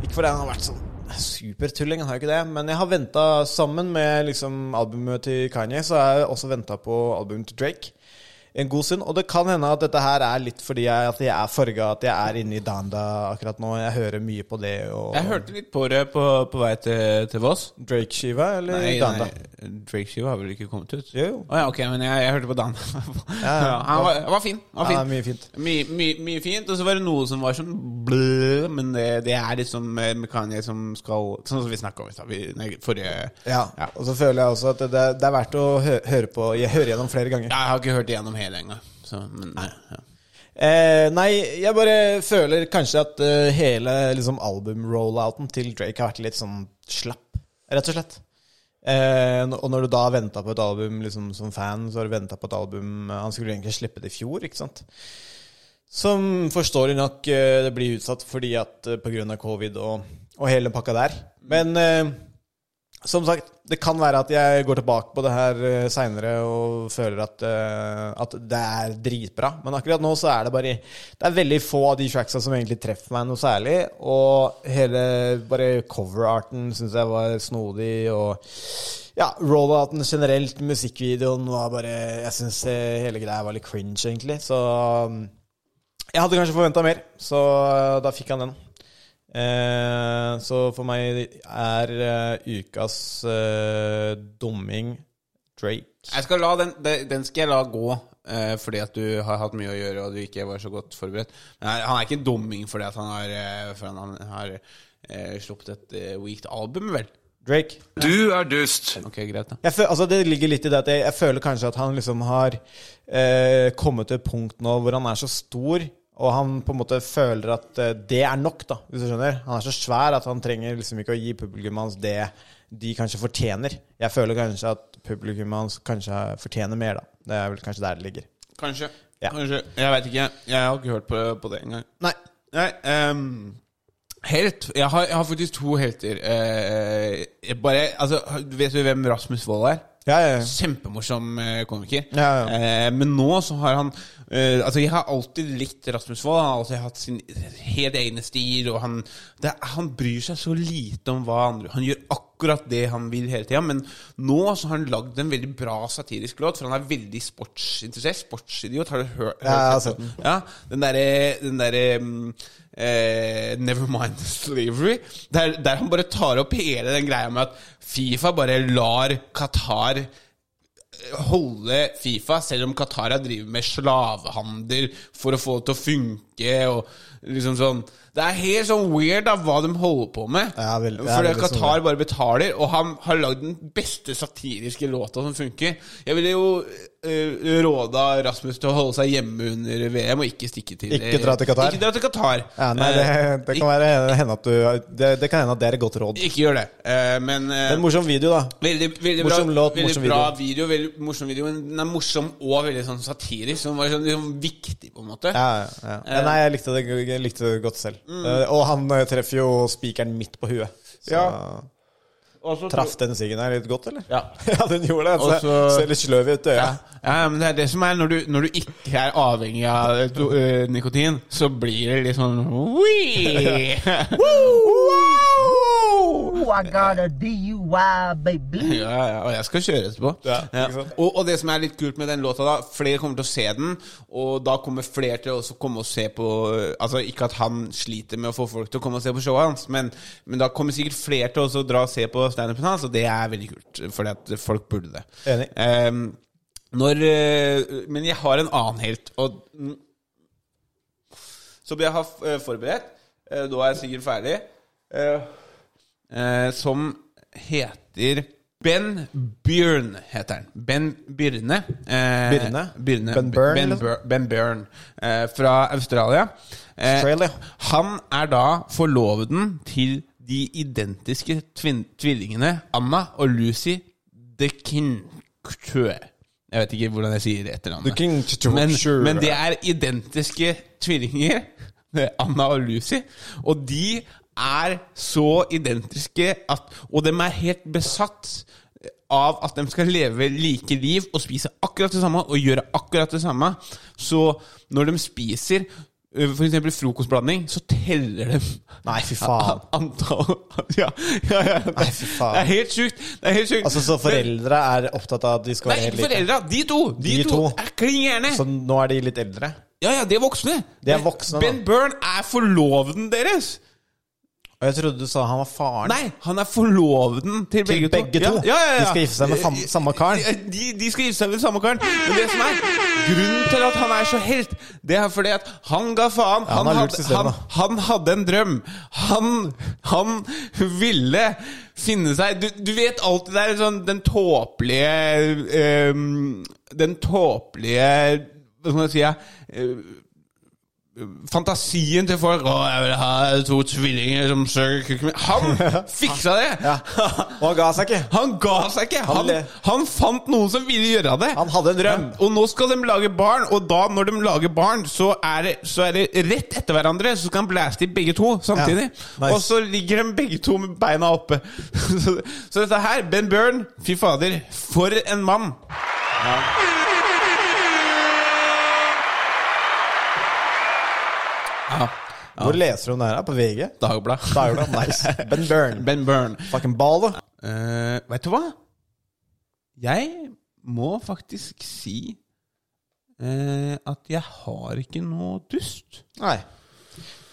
Speaker 3: Ikke fordi han har vært sånn supertulling, han har jo ikke det, men jeg har venta sammen med liksom, albumet til Kanye, så har jeg også venta på albumet til Drake en god stund. Og det kan hende at dette her er litt fordi jeg, at jeg er farga, at jeg er inne i Danda akkurat nå. Jeg hører mye på det og
Speaker 2: Jeg hørte litt på det på, på vei til, til Voss.
Speaker 3: Drake-skiva, eller Danda?
Speaker 2: Drake-skiva har vel ikke kommet ut?
Speaker 3: Jo, jo.
Speaker 2: Å ja, ok, men jeg, jeg hørte på Dan. ja,
Speaker 3: ja.
Speaker 2: han var, han var fin. Han var
Speaker 3: Ja,
Speaker 2: fin.
Speaker 3: det er mye fint.
Speaker 2: Mye, mye, mye fint, og så var det noe som var sånn blø, men det, det er liksom eh, med Kanye som skal Sånn som vi snakka om i stad. vi- nei, Forrige
Speaker 3: Ja. Og så føler jeg også at det, det er verdt å hø høre på Jeg hører gjennom flere ganger.
Speaker 2: Jeg har ikke hørt igjennom hele engang. så, men, eh, Ja.
Speaker 3: Eh, nei, jeg bare føler kanskje at eh, hele liksom, album-rollouten til Drake har vært litt sånn slapp. rett og slett. Eh, n- og når du da venta på et album liksom, som fan, så har du venta på et album eh, Han skulle egentlig slippe det i fjor, ikke sant? Som forståelig nok eh, det blir utsatt fordi at eh, på grunn av covid og, og hele den pakka der. Men eh, som sagt, det kan være at jeg går tilbake på det her seinere og føler at, eh, at det er dritbra. Men akkurat nå så er det bare Det er veldig få av de tracksa som egentlig treffer meg noe særlig. Og hele bare coverarten syns jeg var snodig, og ja, rollouten generelt, musikkvideoen var bare Jeg syns hele greia var litt cringe, egentlig. Så mm, jeg hadde kanskje forventa mer, så eh, da fikk han den. Eh, så for meg er eh, ukas eh, dumming Drake.
Speaker 2: Jeg skal la den, de- den skal jeg la gå, eh, fordi at du har hatt mye å gjøre og du ikke var så godt forberedt. Men han- han er ikke en dumming fordi at han har, eh, for han har eh, sluppet et eh, weeked album, vel?
Speaker 3: Drake.
Speaker 8: Du er dust.
Speaker 2: Ok, greit, da.
Speaker 3: Jeg føl, altså det ligger litt i det at jeg, jeg føler kanskje at han liksom har eh, kommet til et punkt nå hvor han er så stor, og han på en måte føler at eh, det er nok, da, hvis du skjønner. Han er så svær at han trenger liksom ikke å gi publikummet hans det de kanskje fortjener. Jeg føler kanskje at publikummet hans kanskje fortjener mer, da. Det er vel kanskje der det ligger.
Speaker 2: Kanskje.
Speaker 3: Ja.
Speaker 2: Kanskje. Jeg veit ikke. Jeg har ikke hørt på, på det engang.
Speaker 3: Nei.
Speaker 2: Nei, ehm, helt jeg har, jeg har faktisk to helter. Eh, jeg bare, altså, vet du hvem Rasmus Wold er?
Speaker 3: Ja, ja, ja.
Speaker 2: Kjempemorsom eh, komiker.
Speaker 3: Ja, ja.
Speaker 2: Eh, men nå så har han eh, Altså, jeg har alltid likt Rasmus Wold. Han har alltid hatt sin helt egne stil, og han, det, er- han bryr seg så lite om hva andre Han gjør akkurat det han vil hele tida, men nå så har han lagd en veldig bra satirisk låt, for han er veldig sportsinteressert. Sportsidiot, har du hør- hørt?
Speaker 3: Ja, jeg har
Speaker 2: den?
Speaker 3: sett den.
Speaker 2: Ja, den derre den der, um, eh, Nevermind slavery. Der, der han bare tar opp hele den greia med at Fifa bare lar Qatar holde Fifa, selv om Qatar har driver med slavehandel for å få det til å funke. og liksom sånn. Det er helt sånn weird av hva de holder på med.
Speaker 3: Ja, vel- det er
Speaker 2: Fordi
Speaker 3: veldig sånn
Speaker 2: Qatar bare betaler, og han har lagd den beste satiriske låta som funker. Jeg ville jo eh, råda Rasmus til å holde seg hjemme under VM og ikke stikke til
Speaker 3: Ikke dra til Qatar.
Speaker 2: Ikke dra til Qatar.
Speaker 3: Ja, nei, det,
Speaker 2: Eh,
Speaker 3: det kan være hende at du det, det kan hende at det er et godt råd.
Speaker 2: Ik- Ikke gjør det. Eh, men eh,
Speaker 3: Det er en morsom video, da.
Speaker 2: Veldig, veldig
Speaker 3: Morsom
Speaker 2: bra,
Speaker 3: låt,
Speaker 2: veldig
Speaker 3: morsom
Speaker 2: bra video. Veldig morsom video, men den er morsom og veldig sånn satirisk. Som var sånn, liksom, viktig, på en måte.
Speaker 3: Ja, ja.
Speaker 2: Eh.
Speaker 3: ja. Nei, jeg likte det, jeg likte det godt selv.
Speaker 2: Mm.
Speaker 3: Eh, Og han eh, treffer jo spikeren midt på huet. Så
Speaker 2: Ja. Og så-
Speaker 3: traff den siggen her litt godt, eller?
Speaker 2: Ja.
Speaker 3: ja den gjorde det.
Speaker 2: Og
Speaker 3: Så
Speaker 2: så-
Speaker 3: ser litt sløv ut i øya.
Speaker 2: Ja. ja, men det er det som er når du, når du ikke er avhengig av eh, do, eh, nikotin, så blir det litt sånn «Wii!»
Speaker 9: Ooh, I got a DUI, baby.
Speaker 2: Ja, ja, og jeg skal kjøre etterpå.
Speaker 3: Ja, ikke sant?
Speaker 2: Og, og det som er litt kult med den låta, da flere kommer til å se den, og da kommer flere til å også komme og se på Altså Ikke at han sliter med å få folk til å komme og se på showet hans, men, men da kommer sikkert flere til å også dra og se på standupen hans, og det er veldig kult, fordi at folk burde det.
Speaker 3: Enig.
Speaker 2: Ehm, når, eh, men jeg har en annen helt, og mm, som jeg har eh, forberedt. eh, Da er jeg sikkert ferdig. eh, eh, Som heter Ben Byrne, heter han. Ben Byrne. eh,
Speaker 3: Byrne?
Speaker 2: Byrne.
Speaker 3: Ben Byrne,
Speaker 2: Ben,
Speaker 3: liksom?
Speaker 2: Bur- ben Byrne eh, fra Australia. Eh,
Speaker 3: Australia.
Speaker 2: Han er da forloveden til de identiske tvin tvillingene Anna og Lucy de Kinktøe. Jeg vet ikke hvordan jeg sier etternavnet.
Speaker 3: De Kinktøe.
Speaker 2: Men,
Speaker 3: Sure.
Speaker 2: men det er identiske tvillinger, Anna og Lucy, og de er så identiske at Og dem er helt besatt av at de skal leve like liv og spise akkurat det samme og gjøre akkurat det samme. Så når de spiser f.eks. frokostblanding, så teller de
Speaker 3: Nei, fy faen.
Speaker 2: antall ja, ja, ja, det,
Speaker 3: Nei, fy faen.
Speaker 2: Det er helt sjukt. Det er helt sjukt.
Speaker 3: Altså, så
Speaker 2: Men-
Speaker 3: foreldre er opptatt av at de skal
Speaker 2: Nei,
Speaker 3: være
Speaker 2: ikke
Speaker 3: helt like?
Speaker 2: foreldra. De to! De,
Speaker 3: De
Speaker 2: to,
Speaker 3: to.
Speaker 2: er klin gærne.
Speaker 3: Så nå er de litt eldre?
Speaker 2: Ja, ja, de er voksne.
Speaker 3: De er voksne,
Speaker 2: ben
Speaker 3: da.
Speaker 2: Byrne er forloveden deres.
Speaker 3: Og jeg trodde du sa han var faren.
Speaker 2: Nei, han er forloveden til,
Speaker 3: Til begge to?
Speaker 2: Ja, ja, ja, ja.
Speaker 3: De skal gifte seg med fam- samme karen?
Speaker 2: De, de, de skal gifte seg med samme karen. Men det som er grunnen til at han er så helt, det er fordi at han ga faen.
Speaker 3: Ja, han har lurt
Speaker 2: hadde,
Speaker 3: systemet,
Speaker 2: han, han hadde en drøm. Han, han ville finne seg Du, du vet alltid det er sånn den tåpelige eh, Den tåpelige Hva skal man si? eh, Fantasien til folk 'Å, jeg vil ha to tvillinger som søker kukken min' Han fiksa det!
Speaker 3: Ja. Og han ga seg ikke.
Speaker 2: Han ga seg ikke! Han,
Speaker 3: le-
Speaker 2: han fant noen som ville gjøre det!
Speaker 3: Han hadde en drøm.
Speaker 2: Ja, Og nå skal de lage barn, og da når de lager barn, så er det, så er det rett etter hverandre. Så skal han blæste i begge to samtidig.
Speaker 3: Ja, nice.
Speaker 2: Og så ligger de begge to med beina oppe. så, så dette her, Ben Byrne, fy fader, for en mann! Ja.
Speaker 3: Hvor leser du om det her? På VG?
Speaker 2: Dagbladet.
Speaker 3: Dagbladet, nice. Ben Byrne.
Speaker 2: Ben Byrne.
Speaker 3: Fucking ball, da.
Speaker 2: Eh, vet du hva? Jeg må faktisk si eh, at jeg har ikke noe dust.
Speaker 3: Nei.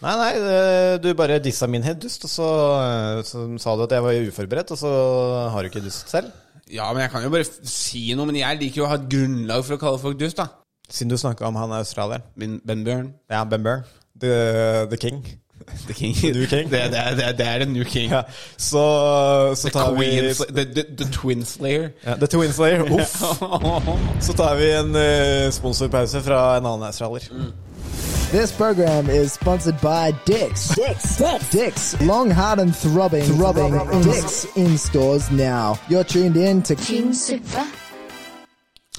Speaker 3: Nei, nei, det- du bare dissa min helt dust, og så, eh, så sa du at jeg var uforberedt, og så har du ikke dust selv.
Speaker 2: Ja, men jeg kan jo bare f- si noe. Men jeg liker jo å ha et grunnlag for å kalle folk dust, da.
Speaker 3: Siden du snakka om han australieren.
Speaker 2: Min Ben Bjørn.
Speaker 3: Ja, Ben Byrne. The, the King.
Speaker 2: The King.
Speaker 3: new king.
Speaker 2: Det, det, er- det, er- det er en new king.
Speaker 3: Ja. Så, så
Speaker 2: The,
Speaker 3: tar
Speaker 2: queen,
Speaker 3: vi
Speaker 2: sl- the, the, the Twin Slayer. Oh,
Speaker 3: ja, The Twin Slayer. Uff. Så tar vi en eh, sponsorpause fra en annen australier.
Speaker 8: This program is sponsored by Dix. Dix. Dix. Long, hard, and throbbing. Throbbing. Dix in stores now. You're tuned in to
Speaker 1: Tynn suppe.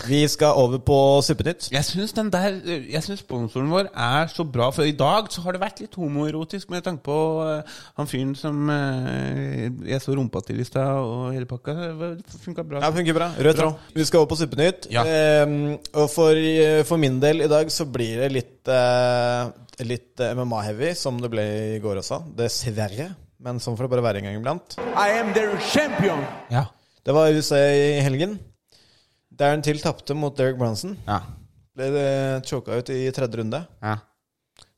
Speaker 3: Vi skal over på Suppenytt.
Speaker 2: Jeg syns den der eh, Jeg synes sponsoren vår er så bra, for i dag så har det vært litt homoerotisk med tanke på eh, han fyren som eh, jeg så rumpa til i stad, og hele pakka. Det funka bra.
Speaker 3: Ja, det funker bra. Rød tråd. Vi skal over på Suppenytt.
Speaker 2: Ja.
Speaker 3: Ehm, og for, eh, for min del i dag så blir det litt, eh, litt MMA-heavy, som det ble i går også. Dessverre. Men sånn får det bare være en gang iblant.
Speaker 6: I am their champion.
Speaker 2: Ja.
Speaker 3: Det var USA i helgen. Darren Till tapte mot Derek Bronson.
Speaker 2: Ja.
Speaker 3: Ble eh, choka ut i tredje runde.
Speaker 2: Ja.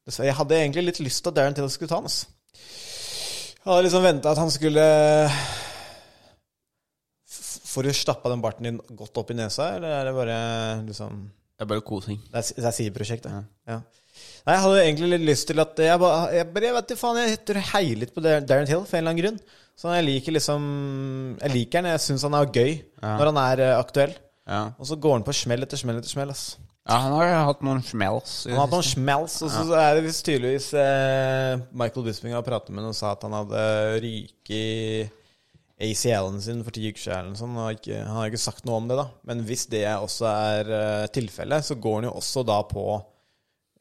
Speaker 3: Dessverre, jeg hadde egentlig litt lyst til at Darren Till skulle ta han. ass. Jeg hadde liksom venta at han skulle F- Får du stappa den barten din godt opp i nesa, eller er det bare liksom
Speaker 2: Det er bare kosing.
Speaker 3: Det er, det er sideprosjektet. Ja. Nei, jeg hadde egentlig litt lyst til at Jeg, bare, jeg, bare- jeg vet ikke faen, jeg tror jeg heier litt på Dar- Darren Hill for en eller annen grunn. Så jeg liker liksom Jeg liker han, jeg syns han er gøy når han er eh, aktuell.
Speaker 2: Ja.
Speaker 3: Og så går han på smell etter smell etter smell. ass.
Speaker 2: ja, han har hatt noen smells. i det
Speaker 3: Han har hatt noen
Speaker 2: siste.
Speaker 3: smells, og så er det visst tydeligvis eh, Michael Bisping har pratet med ham og sa at han hadde ryket i ACL-en sin for ti uker siden. eller noe sånt. Han har, ikke, han har ikke sagt noe om det, da. Men hvis det også er eh, tilfellet, så går han jo også da på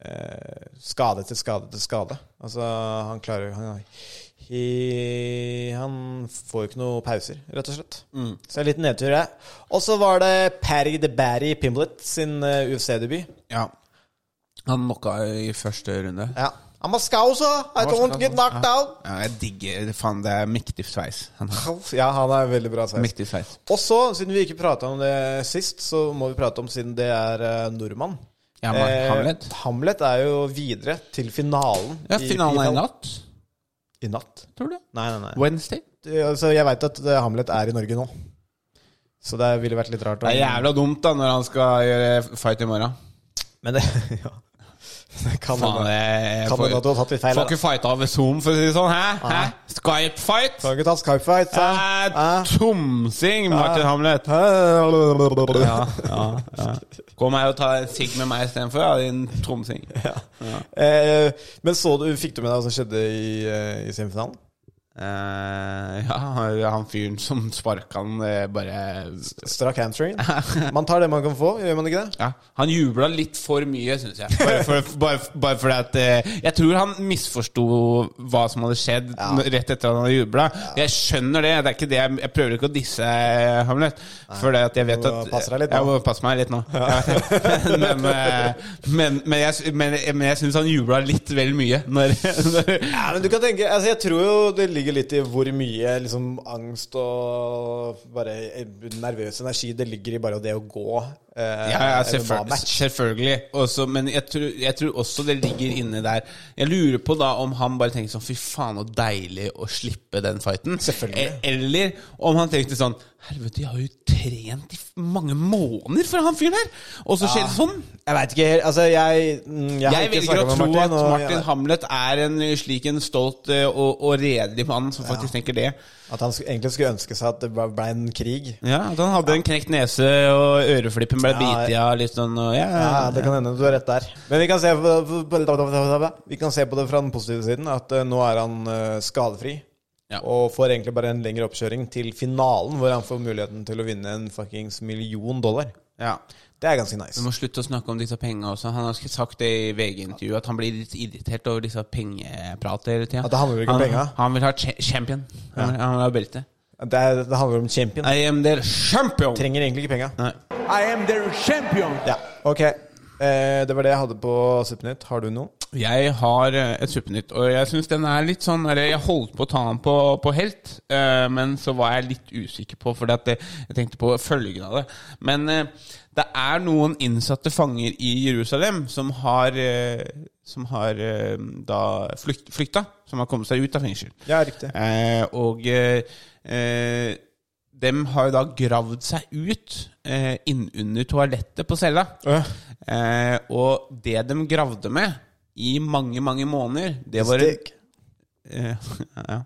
Speaker 3: eh, skade til skade til skade. Altså, han klarer jo han, he, han får jo ikke noe pauser, rett og slett. Så det er litt nedtur, det. Og så var det Patty the Batty Pimblet sin eh, UFC-debut.
Speaker 2: Ja. Han knocka i første runde.
Speaker 3: Ja. Han var skaus, så I don't get knocked out.
Speaker 2: Ja, jeg digger Faen, det er mektig sveis. Han har
Speaker 3: Ja, han er veldig bra sveis.
Speaker 2: mektig sveis.
Speaker 3: Og så, siden vi ikke prata om det sist, så må vi prate om siden det er eh, nordmann.
Speaker 2: Ja, men Hamlet?
Speaker 3: Eh, Hamlet er jo videre til finalen.
Speaker 2: Ja,
Speaker 3: i-
Speaker 2: finalen er
Speaker 3: i
Speaker 2: i natt,
Speaker 3: I natt?
Speaker 2: tror du?
Speaker 3: Nei, nei, nei.
Speaker 2: Wednesday?
Speaker 3: Det- Altså, jeg veit at eh, Hamlet er i Norge nå. Så det ville vært litt rart. om-
Speaker 2: Det er jævla dumt, da, når han skal gjøre fight i morgen.
Speaker 3: Men det, ja. det kan
Speaker 2: Faen,
Speaker 3: hende.
Speaker 2: jeg
Speaker 3: Kan
Speaker 2: får-
Speaker 3: hende at du har tatt litt feil,
Speaker 2: Får
Speaker 3: da.
Speaker 2: ikke fighta over Zoom, for å si det sånn. Hæ? Hæ?
Speaker 3: Nei. sånn.
Speaker 2: Skype-fight?
Speaker 3: Kan ikke ta Skype-fight.
Speaker 2: Det
Speaker 3: sa
Speaker 2: er
Speaker 3: han.
Speaker 2: tomsing, Martin Hamlet.
Speaker 3: Hæ?
Speaker 2: Ja, ja, ja. Kom her og ta en sigg med meg istedenfor, ja, din tromsing.
Speaker 3: Eh, men så du, fikk du med deg hva som skjedde i, eh, i semifinalen?
Speaker 2: Eh, ja, han fyren som sparka han, eh, bare
Speaker 3: Strakk hamstring. Man tar det man kan få, gjør man ikke det?
Speaker 2: Ja, Han jubla litt for mye, syns jeg. Bare, for, bare, bare fordi at eh, Jeg tror han misforsto hva som hadde skjedd n- rett etter at han hadde jubla. Jeg skjønner det. det er ikke det jeg, jeg prøver ikke å disse eh, Hamlet. For det at jeg vet
Speaker 3: Du
Speaker 2: at
Speaker 3: må passe deg litt nå.
Speaker 2: Jeg må passe meg litt nå. men, eh, men, men jeg, sy- men, men jeg syns han jubla litt vel mye. Når, når,
Speaker 3: Ja, men du kan tenke, altså Jeg tror jo det ligger litt i hvor mye liksom, angst og bare eh, nervøs energi det ligger i bare det å gå. Eh,
Speaker 2: Ja, ja
Speaker 3: en
Speaker 2: selvføl
Speaker 3: MMA-match.
Speaker 2: selvfølgelig. Også, men jeg tror, jeg tror også det ligger inne der Jeg lurer på da om han bare tenker sånn Fy faen, så deilig å slippe den fighten.
Speaker 3: Selvfølgelig.
Speaker 2: E- Eller om han tenkte sånn Helvete, jeg har jo trent i f- mange måneder for han fyren her! Og så skjer det sånn.
Speaker 3: Jeg veit ikke helt Altså, jeg mm, Jeg, har
Speaker 2: Jeg
Speaker 3: ikke
Speaker 2: velger
Speaker 3: snakket
Speaker 2: å
Speaker 3: med
Speaker 2: tro at
Speaker 3: og-
Speaker 2: Martin Hamlet er en slik en stolt eh, og, og redelig mann som faktisk tenker det.
Speaker 3: At han sk- egentlig skulle ønske seg at det ble ble en krig.
Speaker 2: Ja, At han hadde en knekt nese og øreflipper ble
Speaker 3: Ja,
Speaker 2: bitt av litt sånn og ja,
Speaker 3: Ja, det kan hende du har rett der. Men vi kan se på, vi kan se på det fra den positive siden, at eh, nå er han eh, skadefri.
Speaker 2: Ja.
Speaker 3: Og får egentlig bare en lengre oppkjøring til finalen, hvor han får muligheten til å vinne en fuckings million dollar.
Speaker 2: ja.
Speaker 3: Det er ganske nice.
Speaker 2: Vi må slutte å snakke om disse pengene også. Han har sagt det i VG-intervjuet at han blir litt irritert over disse pengeprater hele tida.
Speaker 3: At det handler ikke om
Speaker 2: han,
Speaker 3: penga?
Speaker 2: Han vil ha cha- champion. Han vil, han vil ha belte.
Speaker 3: Det, er, det handler om champion.
Speaker 2: I am their champion!
Speaker 3: Trenger egentlig ikke penga.
Speaker 2: Nei.
Speaker 6: I am their champion.
Speaker 3: Ja, ok. Eh, det var det jeg hadde på Suppenytt. Har du noe?
Speaker 2: Jeg har eh, et suppenytt, og jeg syns den er litt sånn eller Jeg holdt på å ta den på, på helt, eh, men så var jeg litt usikker på For jeg tenkte på følgen av det. Men eh, det er noen innsatte fanger i Jerusalem som har, eh, som har eh, da flykt, flykta. Som har kommet seg ut av fengsel.
Speaker 3: Ja, riktig.
Speaker 2: Eh, og eh, eh, dem har jo da gravd seg ut eh, innunder toalettet på cella. Eh, og det de gravde med i mange, mange måneder, det var en,
Speaker 3: Stikk.
Speaker 2: eh, ja.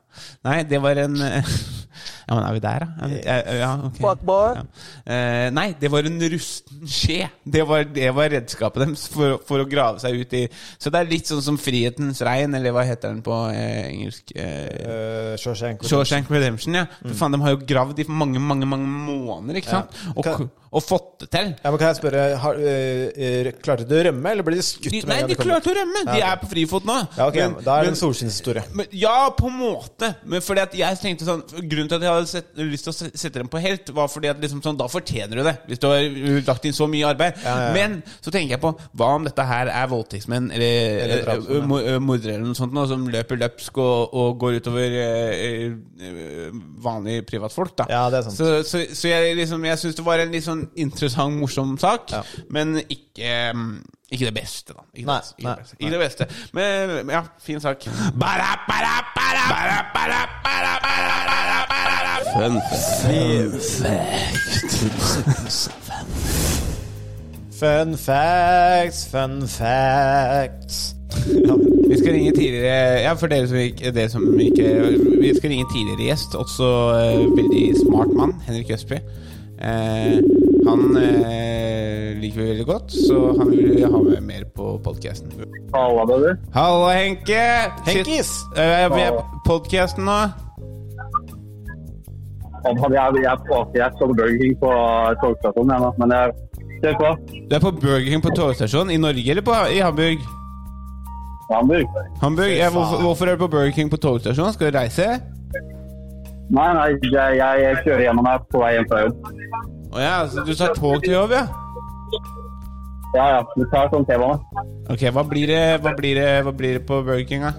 Speaker 2: Nei, det var en eh, Ja, men er vi der, da? Er vi- eh, Ja, ok. Ja. Eh, nei, det var en rusten skje. Det var, det var redskapet deres for, å- for å grave seg ut i Så det er litt sånn som Frihetens regn, eller hva heter den på eh, engelsk? Eh,
Speaker 3: Eh, Shawshank.
Speaker 2: Shawshank Redemption, ja. For
Speaker 3: Mm.
Speaker 2: faen, de har jo gravd i mange, mange mange måneder, ikke sant? Og,
Speaker 3: Kan-
Speaker 2: og fått det til.
Speaker 3: Ja, men kan jeg spørre, har, eh, eh, klarte de å rømme, eller ble de skutt?
Speaker 2: De,
Speaker 3: med en
Speaker 2: nei,
Speaker 3: gang
Speaker 2: de
Speaker 3: kom
Speaker 2: klarte å
Speaker 3: ut?
Speaker 2: rømme! De er på frifot nå.
Speaker 3: Ja, ok,
Speaker 2: Men-
Speaker 3: Da er
Speaker 2: men-
Speaker 3: det en solskinnshistorie.
Speaker 2: men, ja, på en måte. Men fordi at jeg tenkte sånn Grunnen til at jeg hadde sett, lyst til å se- sette dem på helt, var fordi at liksom sånn, da fortjener du det. Hvis du har uh, lagt inn så mye arbeid.
Speaker 3: ja, ja.
Speaker 2: Men så tenker jeg på hva om dette her er voldtektsmenn eller, eh,
Speaker 3: Eller
Speaker 2: eller
Speaker 3: drapsmenn, ja.
Speaker 2: mordere eller noe sånt nå, som løper løpsk og, og går utover eh, eh, vanlige privatfolk, da.
Speaker 3: Ja, det er sant.
Speaker 2: Så, så, så jeg, liksom, jeg syns det var en litt sånn interessant, morsom sak,
Speaker 3: Ja.
Speaker 2: men ikke mm, ikke det beste, da. Ikke
Speaker 3: Nei,
Speaker 2: det, ikke
Speaker 3: nei,
Speaker 2: det beste. Ikke det beste. Men men ja, fin sak. Bara, bara, bara, bara, bara, bara, bara, bara, bara. Fun
Speaker 3: Fun facts, fun facts. Ja.
Speaker 2: Vi skal ringe tidligere Ja, for dere som ikke, dere som ikke Vi skal ringe tidligere gjest, også eh, veldig smart mann, Henrik Østby. Eh, han eh, liker vi veldig godt, så han vil vi ha med mer på podkasten.
Speaker 10: Halla, baby.
Speaker 2: Hallo, Henke!
Speaker 3: Henkis!
Speaker 2: Uh, vi er på podkasten nå.
Speaker 10: Jeg, jeg, jeg, jeg, jeg så Burger King på togstasjonen, jeg nå. Men jeg ser på.
Speaker 2: Du er på Burger King på togstasjonen i Norge eller på, i Hamburg?
Speaker 10: Hamburg.
Speaker 2: Hamburg, ja, hvorfor, hvorfor er du på Burger King på togstasjonen? Skal du reise?
Speaker 10: Nei, nei, er- jeg, jeg kjører gjennom her på vei hjem fra jobb.
Speaker 2: Å ja, så du tar tog til jobb, ja?
Speaker 10: Ja, ja. Du tar sånn T-bane.
Speaker 2: Ok, hva blir det, hva blir det, hva blir det på Burger King, da?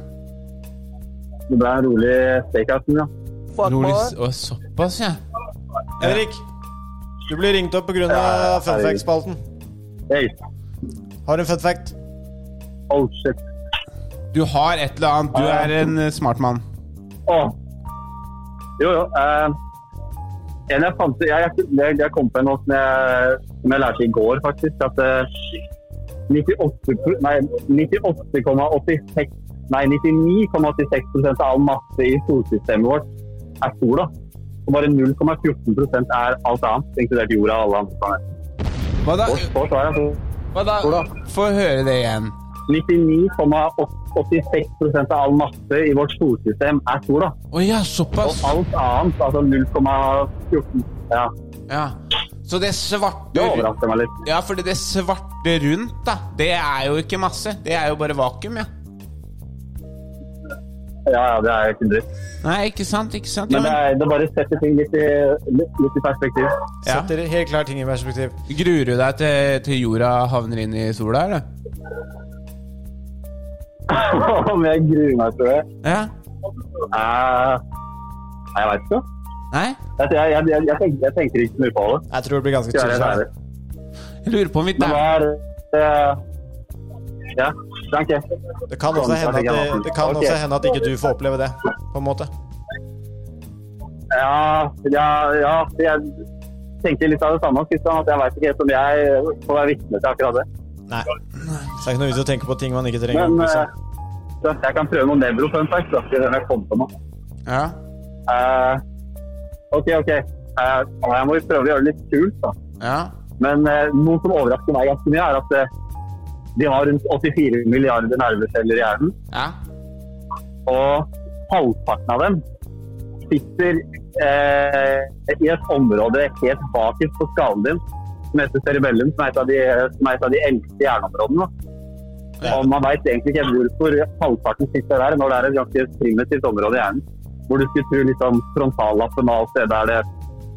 Speaker 10: Det ble en rolig stakeout. Ja.
Speaker 2: Rolig, å, såpass, ja.
Speaker 3: Henrik, du blir ringt opp pga.
Speaker 10: Ja,
Speaker 3: fun
Speaker 10: herregud.
Speaker 3: facts-spalten.
Speaker 10: Hey.
Speaker 3: Har du en fun fact?
Speaker 10: Oh, shit.
Speaker 2: Du har et eller annet. Du er en eh, smart mann.
Speaker 10: Åh. Jo, jo. Eh, en jeg, fant, jeg, jeg, jeg- jeg kom på en nå som jeg, som jeg lærte i går, faktisk. At eh, 98 pro- nei, 98,86 Nei, 99,86 av all masse i solsystemet vårt er sola. Og bare 0,14 er alt annet, inkludert jorda og alle andre planeter.
Speaker 2: Hva da?
Speaker 10: Vårt vår svar er sol.
Speaker 2: Hva da?
Speaker 10: Ola.
Speaker 2: Få høre det igjen.
Speaker 10: altså 99,86 av all masse i vårt solsystem er sola.
Speaker 2: Å ja, såpass.
Speaker 10: Og alt annet, altså 0,14 Ja,
Speaker 2: Ja. Så det
Speaker 10: det
Speaker 2: svarte
Speaker 10: overrasker meg litt.
Speaker 2: Ja, fordi det svarte rundt, da, det er jo ikke masse. Det er jo bare vakuum, ja.
Speaker 10: Ja, ja, det er ikke dritt.
Speaker 2: Nei, ikke sant, ikke sant. Ja,
Speaker 10: Men det,
Speaker 2: men,
Speaker 10: er, det bare setter ting litt i, litt, litt i perspektiv.
Speaker 2: ja.
Speaker 3: Setter helt klart ting i perspektiv.
Speaker 2: Gruer du deg til, til jorda havner inn i sola, eller?
Speaker 10: Om jeg gruer meg til det
Speaker 2: Ja?
Speaker 10: Eh, Nei, jeg veit ikke.
Speaker 2: Nei?
Speaker 10: Jeg, jeg, jeg, jeg, tenker, jeg tenker ikke så mye på det.
Speaker 3: Jeg tror det blir ganske
Speaker 10: Skal jeg
Speaker 3: chill.
Speaker 10: være helt
Speaker 3: her.
Speaker 10: ærlig.
Speaker 2: Jeg lurer på om vi
Speaker 10: Men
Speaker 2: der
Speaker 10: hva er eh, Ja, danke.
Speaker 3: Det kan også hende at, det, det kan
Speaker 10: Ok.
Speaker 3: også hende at ikke
Speaker 10: sånn.
Speaker 3: du får oppleve det, på en måte.
Speaker 10: Ja, ja, ja jeg tenker litt av det samme, Kristian. At jeg veit ikke helt om jeg får være vitne til akkurat det.
Speaker 3: Nei. Så det er ikke noe vits i å tenke på ting man ikke trenger.
Speaker 10: Men
Speaker 3: liksom.
Speaker 10: eh, så jeg kan prøve noen nebro fun facts. Da, siden jeg kom på noe.
Speaker 2: Ja.
Speaker 10: Eh, ok, ok. Eh, ja, jeg må jo prøve å gjøre det litt kult, da.
Speaker 2: ja.
Speaker 10: Men eh, noe som overrasker meg ganske mye, er at eh, de har rundt 84 milliarder nerveceller i hjernen.
Speaker 2: Ja.
Speaker 10: Og halvparten av dem sitter eh, i et område helt bakerst på skallen din, som heter cerebellum, som er et av de, som er et av de eldste hjerneområdene. da. Og man veit egentlig ikke hvorfor halvparten sitter der, når det er et ganske primitivt område i hjernen. Hvor du skulle tro liksom, frontallappen og alt det der det,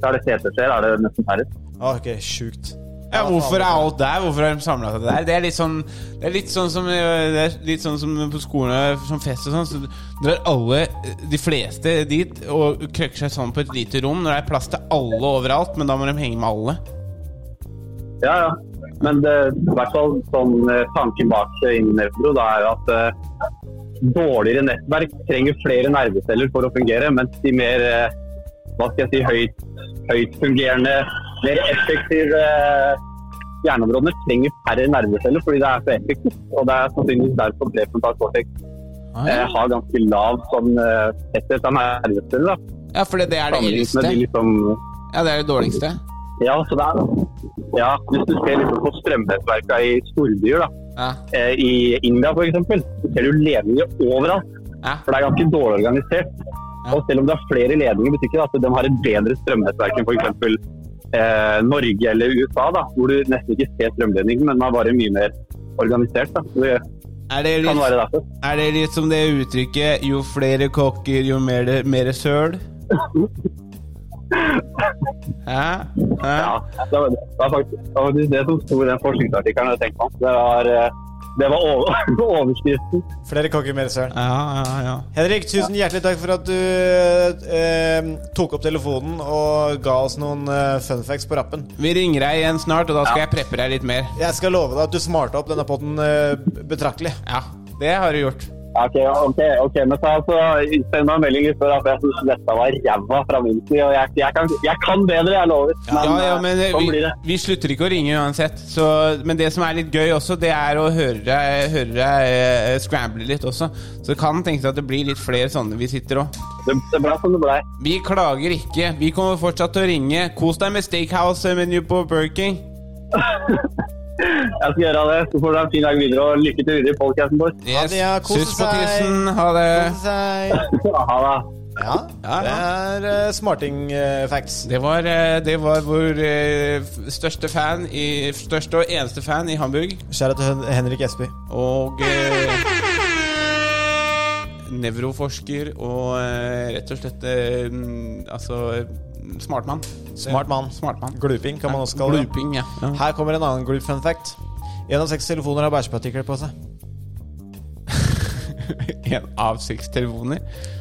Speaker 10: der det seter skjer, er det nesten færre.
Speaker 3: Ok, sjukt.
Speaker 2: Ja, hvorfor er alt der? Hvorfor har de samla seg der? Det er litt sånn Det er litt sånn som, det er litt sånn som på skolen som fest og sånn. Så drar alle, eh, de fleste, dit og krøkker seg sånn på et lite rom når det er plass til alle overalt, men da må de henge med alle.
Speaker 10: Ja, ja. Men det, i hvert fall sånn eh, tanken bak Innevro da er jo at eh, dårligere nettverk trenger flere nerveceller for å fungere, mens de mer eh, hva skal jeg si, høyt, høyt fungerende, mer effektive eh, hjerneområdene trenger færre nerveceller fordi det er så effektivt. Og det er sannsynligvis derfor prefrontal cortex eh, har ganske lav sånn, eh, tetthet av nerveceller. da,
Speaker 2: Ja, for det, det er det
Speaker 10: sammenlignet med
Speaker 2: eldste.
Speaker 10: de liksom
Speaker 2: Ja, det er det dårligste.
Speaker 10: ja, så det er, ja, hvis du ser liksom på strømnettverka i storbyer, da,
Speaker 2: Ja.
Speaker 10: eh, i India f.eks., så ser du ledninger overalt.
Speaker 2: Ja.
Speaker 10: For det er ganske dårlig organisert.
Speaker 2: Ja.
Speaker 10: Og selv om det er flere ledninger, betyr ikke det at de har et bedre strømnettverk enn f.eks. Eh, Norge eller USA, da, hvor du nesten ikke ser strømledningen, men den er bare mye mer organisert. Da. Det
Speaker 2: Er det,
Speaker 10: kan
Speaker 2: litt,
Speaker 10: være derfor.
Speaker 2: er det litt som det uttrykket 'jo flere kokker, jo mer, mer søl'? Hæ? Hæ?
Speaker 10: Ja, det var, det var faktisk det, var faktisk det som sto i den forskningsartikkelen jeg tenkte på. Det var, eh, det var over, overskriften.
Speaker 3: Flere kokker, mer søren.
Speaker 2: Ja, ja, ja.
Speaker 3: Henrik, tusen hjertelig takk for at du eh, tok opp telefonen og ga oss noen eh, fun facts på rappen.
Speaker 2: Vi ringer deg igjen snart, og da skal jeg preppe deg litt mer.
Speaker 3: Jeg skal love deg at du smarta opp denne potten eh, betraktelig.
Speaker 2: Ja, det har du gjort.
Speaker 10: Ok, ok, ok, men så altså, send meg en melding litt før, da, for jeg synes dette var ræva fra min side, og jeg, jeg, kan, jeg kan bedre, jeg lover.
Speaker 2: Ja, ja, men eh,
Speaker 10: eh, sånn
Speaker 2: vi,
Speaker 10: blir det.
Speaker 2: vi slutter ikke å ringe uansett. Så, men det som er litt gøy også, det er å høre deg, høre deg eh, scramble litt også. Så det kan tenkes at det blir litt flere sånne vi sitter og
Speaker 10: det. Det ble som det ble.
Speaker 2: Vi klager ikke. Vi kommer fortsatt til å ringe. Kos deg med Steakhouse-menu på Burger King.
Speaker 10: Jeg skal gjøre det, så får du ha en fin dag videre, og lykke til videre i podcasten vår.
Speaker 2: Yes.
Speaker 3: det, ja. Kos
Speaker 2: Suss på
Speaker 3: deg.
Speaker 2: tissen. Ha det.
Speaker 3: Ja,
Speaker 10: Ha det.
Speaker 3: det er eh, smarting eh, facts.
Speaker 2: Det var, eh, det var vår eh, f- største fan i, Største og eneste fan i Hamburg.
Speaker 3: Skjæra til Hen- Henrik Esby.
Speaker 2: Og eh, nevroforsker og eh, rett og slett eh, mm, altså eh, smartmann.
Speaker 3: Smart mann.
Speaker 2: Smartmann.
Speaker 3: Gluping kan man også kalle det.
Speaker 2: Gluping, ja. ja.
Speaker 3: Her kommer en annen glup fun fact. En av seks telefoner har bæsjepartikler på seg.
Speaker 2: En av seks telefoner.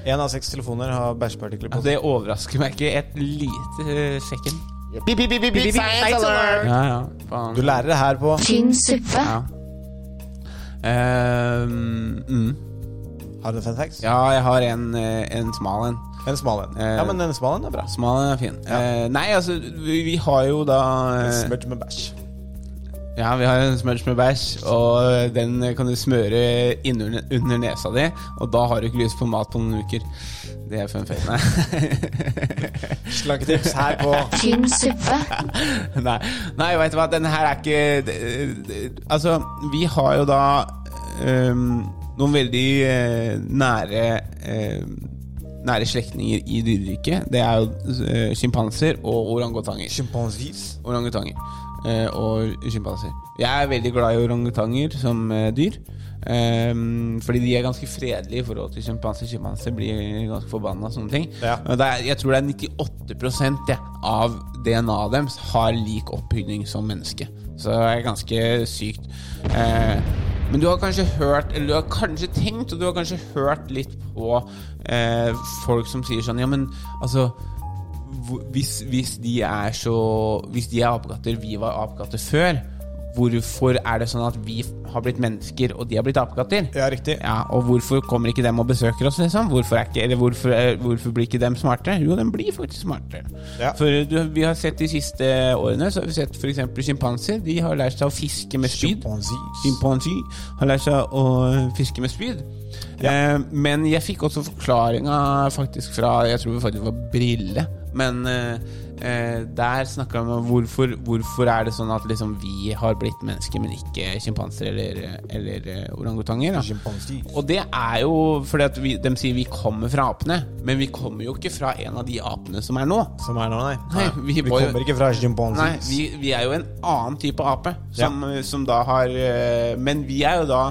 Speaker 3: En av seks telefoner har bæsjepartikler
Speaker 2: Ja,
Speaker 3: på seg.
Speaker 2: det overrasker meg ikke et lite eh, sekund.
Speaker 3: Beep, beep, beep, beep, beep, science alert.
Speaker 2: Ja, ja. Faen.
Speaker 3: Du lærer det her på
Speaker 1: Tynn suppe.
Speaker 2: ja. Eh, mm.
Speaker 3: Har du en fun facts?
Speaker 2: ja, jeg har en, eh, en smal en.
Speaker 3: En smal en. Ja, men en smal en er bra.
Speaker 2: Smal en er fin. Eh, nei, altså, vi, vi har jo da eh,
Speaker 3: Smørt med bæsj.
Speaker 2: Ja, vi har en smudge med bæsj, og den kan du smøre innunder under nesa di, og da har du ikke lyst på mat på noen uker. Det er fun fact. Nei.
Speaker 3: Slanketips her på
Speaker 1: Tynn suppe.
Speaker 2: Nei, Nei veit du hva, den her er ikke det- det- Altså, vi har jo da ehm, noen veldig eh, nære ehm, Nære slektninger i dyreriket. Det er jo eh, sjimpanser og orangutanger.
Speaker 3: Sjimpansis.
Speaker 2: Orangutanger eh, og sjimpanser. Jeg er veldig glad i orangutanger som eh, dyr. ehm, fordi de er ganske fredelige i forhold til sjimpanser. Sjimpanser blir ganske forbanna og sånne ting.
Speaker 3: Ja.
Speaker 2: Og det er, jeg tror det er 98 jeg, av DNA-et deres har lik oppbygning som menneske. Så det er ganske sykt. Eh, men du har kanskje hørt Eller du har kanskje tenkt, og du har kanskje hørt litt på eh, folk som sier sånn Ja, men altså hvor- hvis, hvis de er så Hvis de er apekatter, vi var apekatter før, hvorfor er det sånn at vi har blitt mennesker, og de har blitt apekatter?
Speaker 3: Ja, riktig.
Speaker 2: Ja, og hvorfor kommer ikke dem og besøker oss, liksom? Hvorfor, er ikke, eller hvorfor, eh, hvorfor blir ikke dem smartere? Jo, de blir faktisk smartere.
Speaker 3: Ja.
Speaker 2: For eh, du, vi har sett de siste årene, så har vi sett f.eks. sjimpanser. De har lært seg å fiske med spyd.
Speaker 3: Sjimpansis.
Speaker 2: Sjimpansi har lært seg å fiske med spyd. Eh, men jeg fikk også forklaringa faktisk fra Jeg tror det faktisk var Brille. Men eh, eh, der snakka han om hvorfor, hvorfor er det sånn at liksom vi har blitt mennesker, men ikke sjimpanser eller, eller eh, orangutanger. Da. Og det er jo fordi at vi, de sier vi kommer fra apene, men vi kommer jo ikke fra en av de apene som er nå.
Speaker 3: Som er nå, nei.
Speaker 2: Nei, vi
Speaker 3: vi
Speaker 2: var jo-
Speaker 3: kommer ikke fra chimpansees.
Speaker 2: Nei, vi, vi er jo en annen type ape som, som da har eh, Men vi er jo da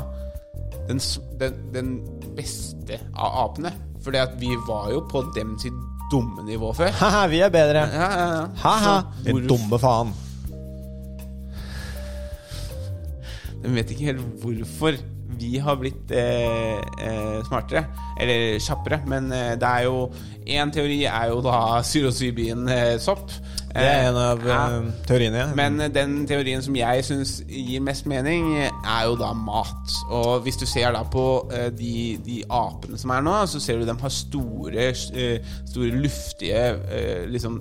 Speaker 2: den, s- den, den beste av apene. Fordi at vi var jo på dem sitt dumme nivå før.
Speaker 3: Haha, vi er bedre.
Speaker 2: Ja, ja, ja.
Speaker 3: Ha-ha.
Speaker 2: Så
Speaker 3: Din
Speaker 2: hvor-
Speaker 3: dumme faen.
Speaker 2: De vet ikke helt hvorfor vi har blitt eh, eh, smartere, eller kjappere. Men eh, det er jo én teori er jo da psilocybin eh, sopp.
Speaker 3: Det er en av
Speaker 2: ja.
Speaker 3: eh, teoriene. ja.
Speaker 2: Men den teorien som jeg syns gir mest mening, er jo da mat. Og hvis du ser da på eh, de, de apene som er nå, så ser du dem har store, eh, store luftige, eh, liksom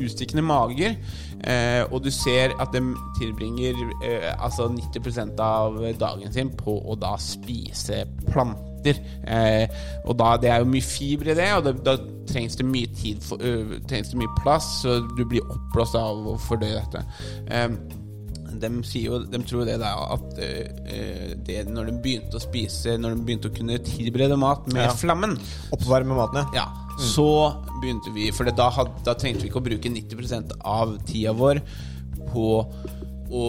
Speaker 2: utstikkende mager. Eh, Og du ser at de tilbringer eh, altså 90 av dagen sin på å da spise planter. Eh, og da, Det er jo mye fiber i det, og det, da trengs det mye tid for, ø, trengs det mye plass, så du blir oppblåst av å fordøye dette. Eh, de, sier jo, de tror jo det der at eh, eh, det, når de begynte å spise Når de begynte å kunne tilberede mat med
Speaker 3: Ja.
Speaker 2: flammen,
Speaker 3: Oppvarme maten, ja.
Speaker 2: ja, så begynte vi For da, had, da trengte vi ikke å bruke 90 av tida vår på å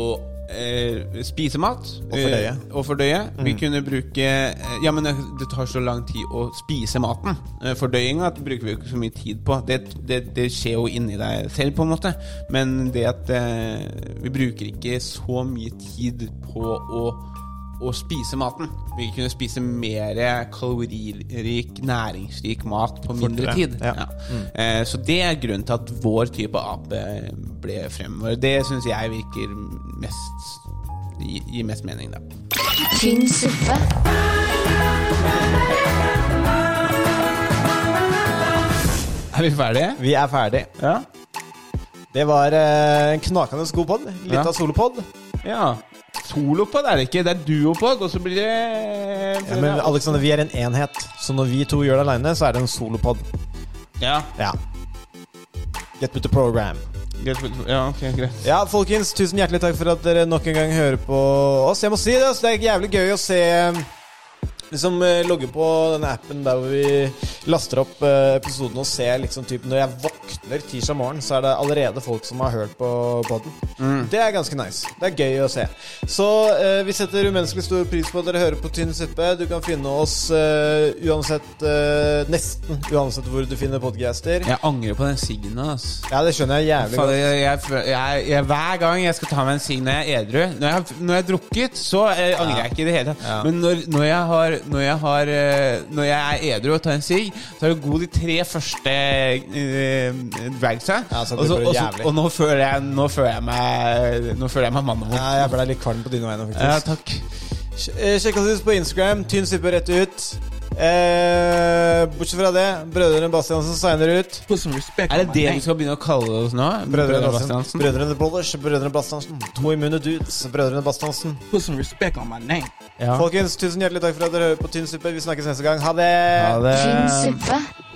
Speaker 2: eh, spise mat.
Speaker 3: fordøye.
Speaker 2: eh, Og fordøye.
Speaker 3: Mm.
Speaker 2: Vi kunne bruke eh, Ja, men det det tar så lang tid å spise maten. Eh, Fordøyinga bruker vi jo ikke så mye tid på. Det, det, det skjer jo inni deg selv, på en måte. Men det at eh, vi bruker ikke så mye tid på å å spise maten. Vi kunne spise mer kaloririk, næringsrik mat på mindre
Speaker 3: Fortere,
Speaker 2: tid.
Speaker 3: ja. Mm.
Speaker 2: Eh, Så det er grunnen til at vår type ape ble fremover. Det syns jeg virker mest gi- gir mest mening, da.
Speaker 1: Tynn suppe.
Speaker 2: Er vi ferdige?
Speaker 3: Vi er ferdig.
Speaker 2: Ja.
Speaker 3: Det var eh, en knakende god pod. Litt
Speaker 2: Ja.
Speaker 3: av solopod.
Speaker 2: ja. Solopod er det ikke. Det er duopod, og så blir det
Speaker 3: Ja, men Alexander, vi er en enhet, så når vi to gjør det aleine, så er det en solopod.
Speaker 2: ja.
Speaker 3: Ja. Get with the program.
Speaker 2: greit. ja, ok, greit.
Speaker 3: Ja, folkens, tusen hjertelig takk for at dere nok en gang hører på oss. Jeg må si det, altså, det er jævlig gøy å se eh, Liksom eh, logge på denne appen der hvor vi laster opp eh, episoden og ser liksom typ Når jeg våkner tirsdag morgen, så er det allerede folk som har hørt på podden. Det er ganske nice. Det er gøy å se. Så eh, vi setter umenneskelig stor pris på at dere hører på Tynn suppe. Du kan finne oss eh, uansett eh, Nesten uansett hvor du finner podcaster. Ja.
Speaker 2: Jeg angrer på den siggen. Altså.
Speaker 3: det skjønner jeg jævlig
Speaker 2: Fader,
Speaker 3: godt.
Speaker 2: jeg, jeg, føl- jeg, jeg, hver gang jeg skal ta meg en sigg når jeg er edru Når jeg har når jeg har drukket, så eh, angrer jeg ikke i det hele tatt. Men når, når, jeg har, når, jeg har, eh, når jeg er edru og tar en sigg, så er det god de tre første eh, dragsa.
Speaker 3: Ja, så
Speaker 2: og, så-
Speaker 3: blir det
Speaker 2: og, så-
Speaker 3: jævlig.
Speaker 2: og nå, føler jeg, nå føler jeg meg Nå føler jeg meg mann og
Speaker 3: Ja,
Speaker 2: mot.
Speaker 3: jeg ble litt kvalm på dine vegne, faktisk.
Speaker 2: Ja, takk.
Speaker 3: Sj- eh, Sjekk oss ut på Instagram. Tynn suppe rett ut. Eh, bortsett fra det, Brødrene Bastiansen signer ut.
Speaker 6: Put some respect.
Speaker 2: Er det det du skal begynne å kalle oss nå?
Speaker 3: Brødrene Bastiansen.
Speaker 2: Bastiansen?
Speaker 3: Brødrene Bollers, Brødrene Bastiansen. To immune dudes, Brødrene Bastiansen.
Speaker 6: Put some respect on my name.
Speaker 2: Ja.
Speaker 3: Folkens, tusen hjertelig takk for at dere hører på Tynn suppe. Vi snakkes neste gang. Ha det!
Speaker 2: Ha det.
Speaker 1: Tynn suppe.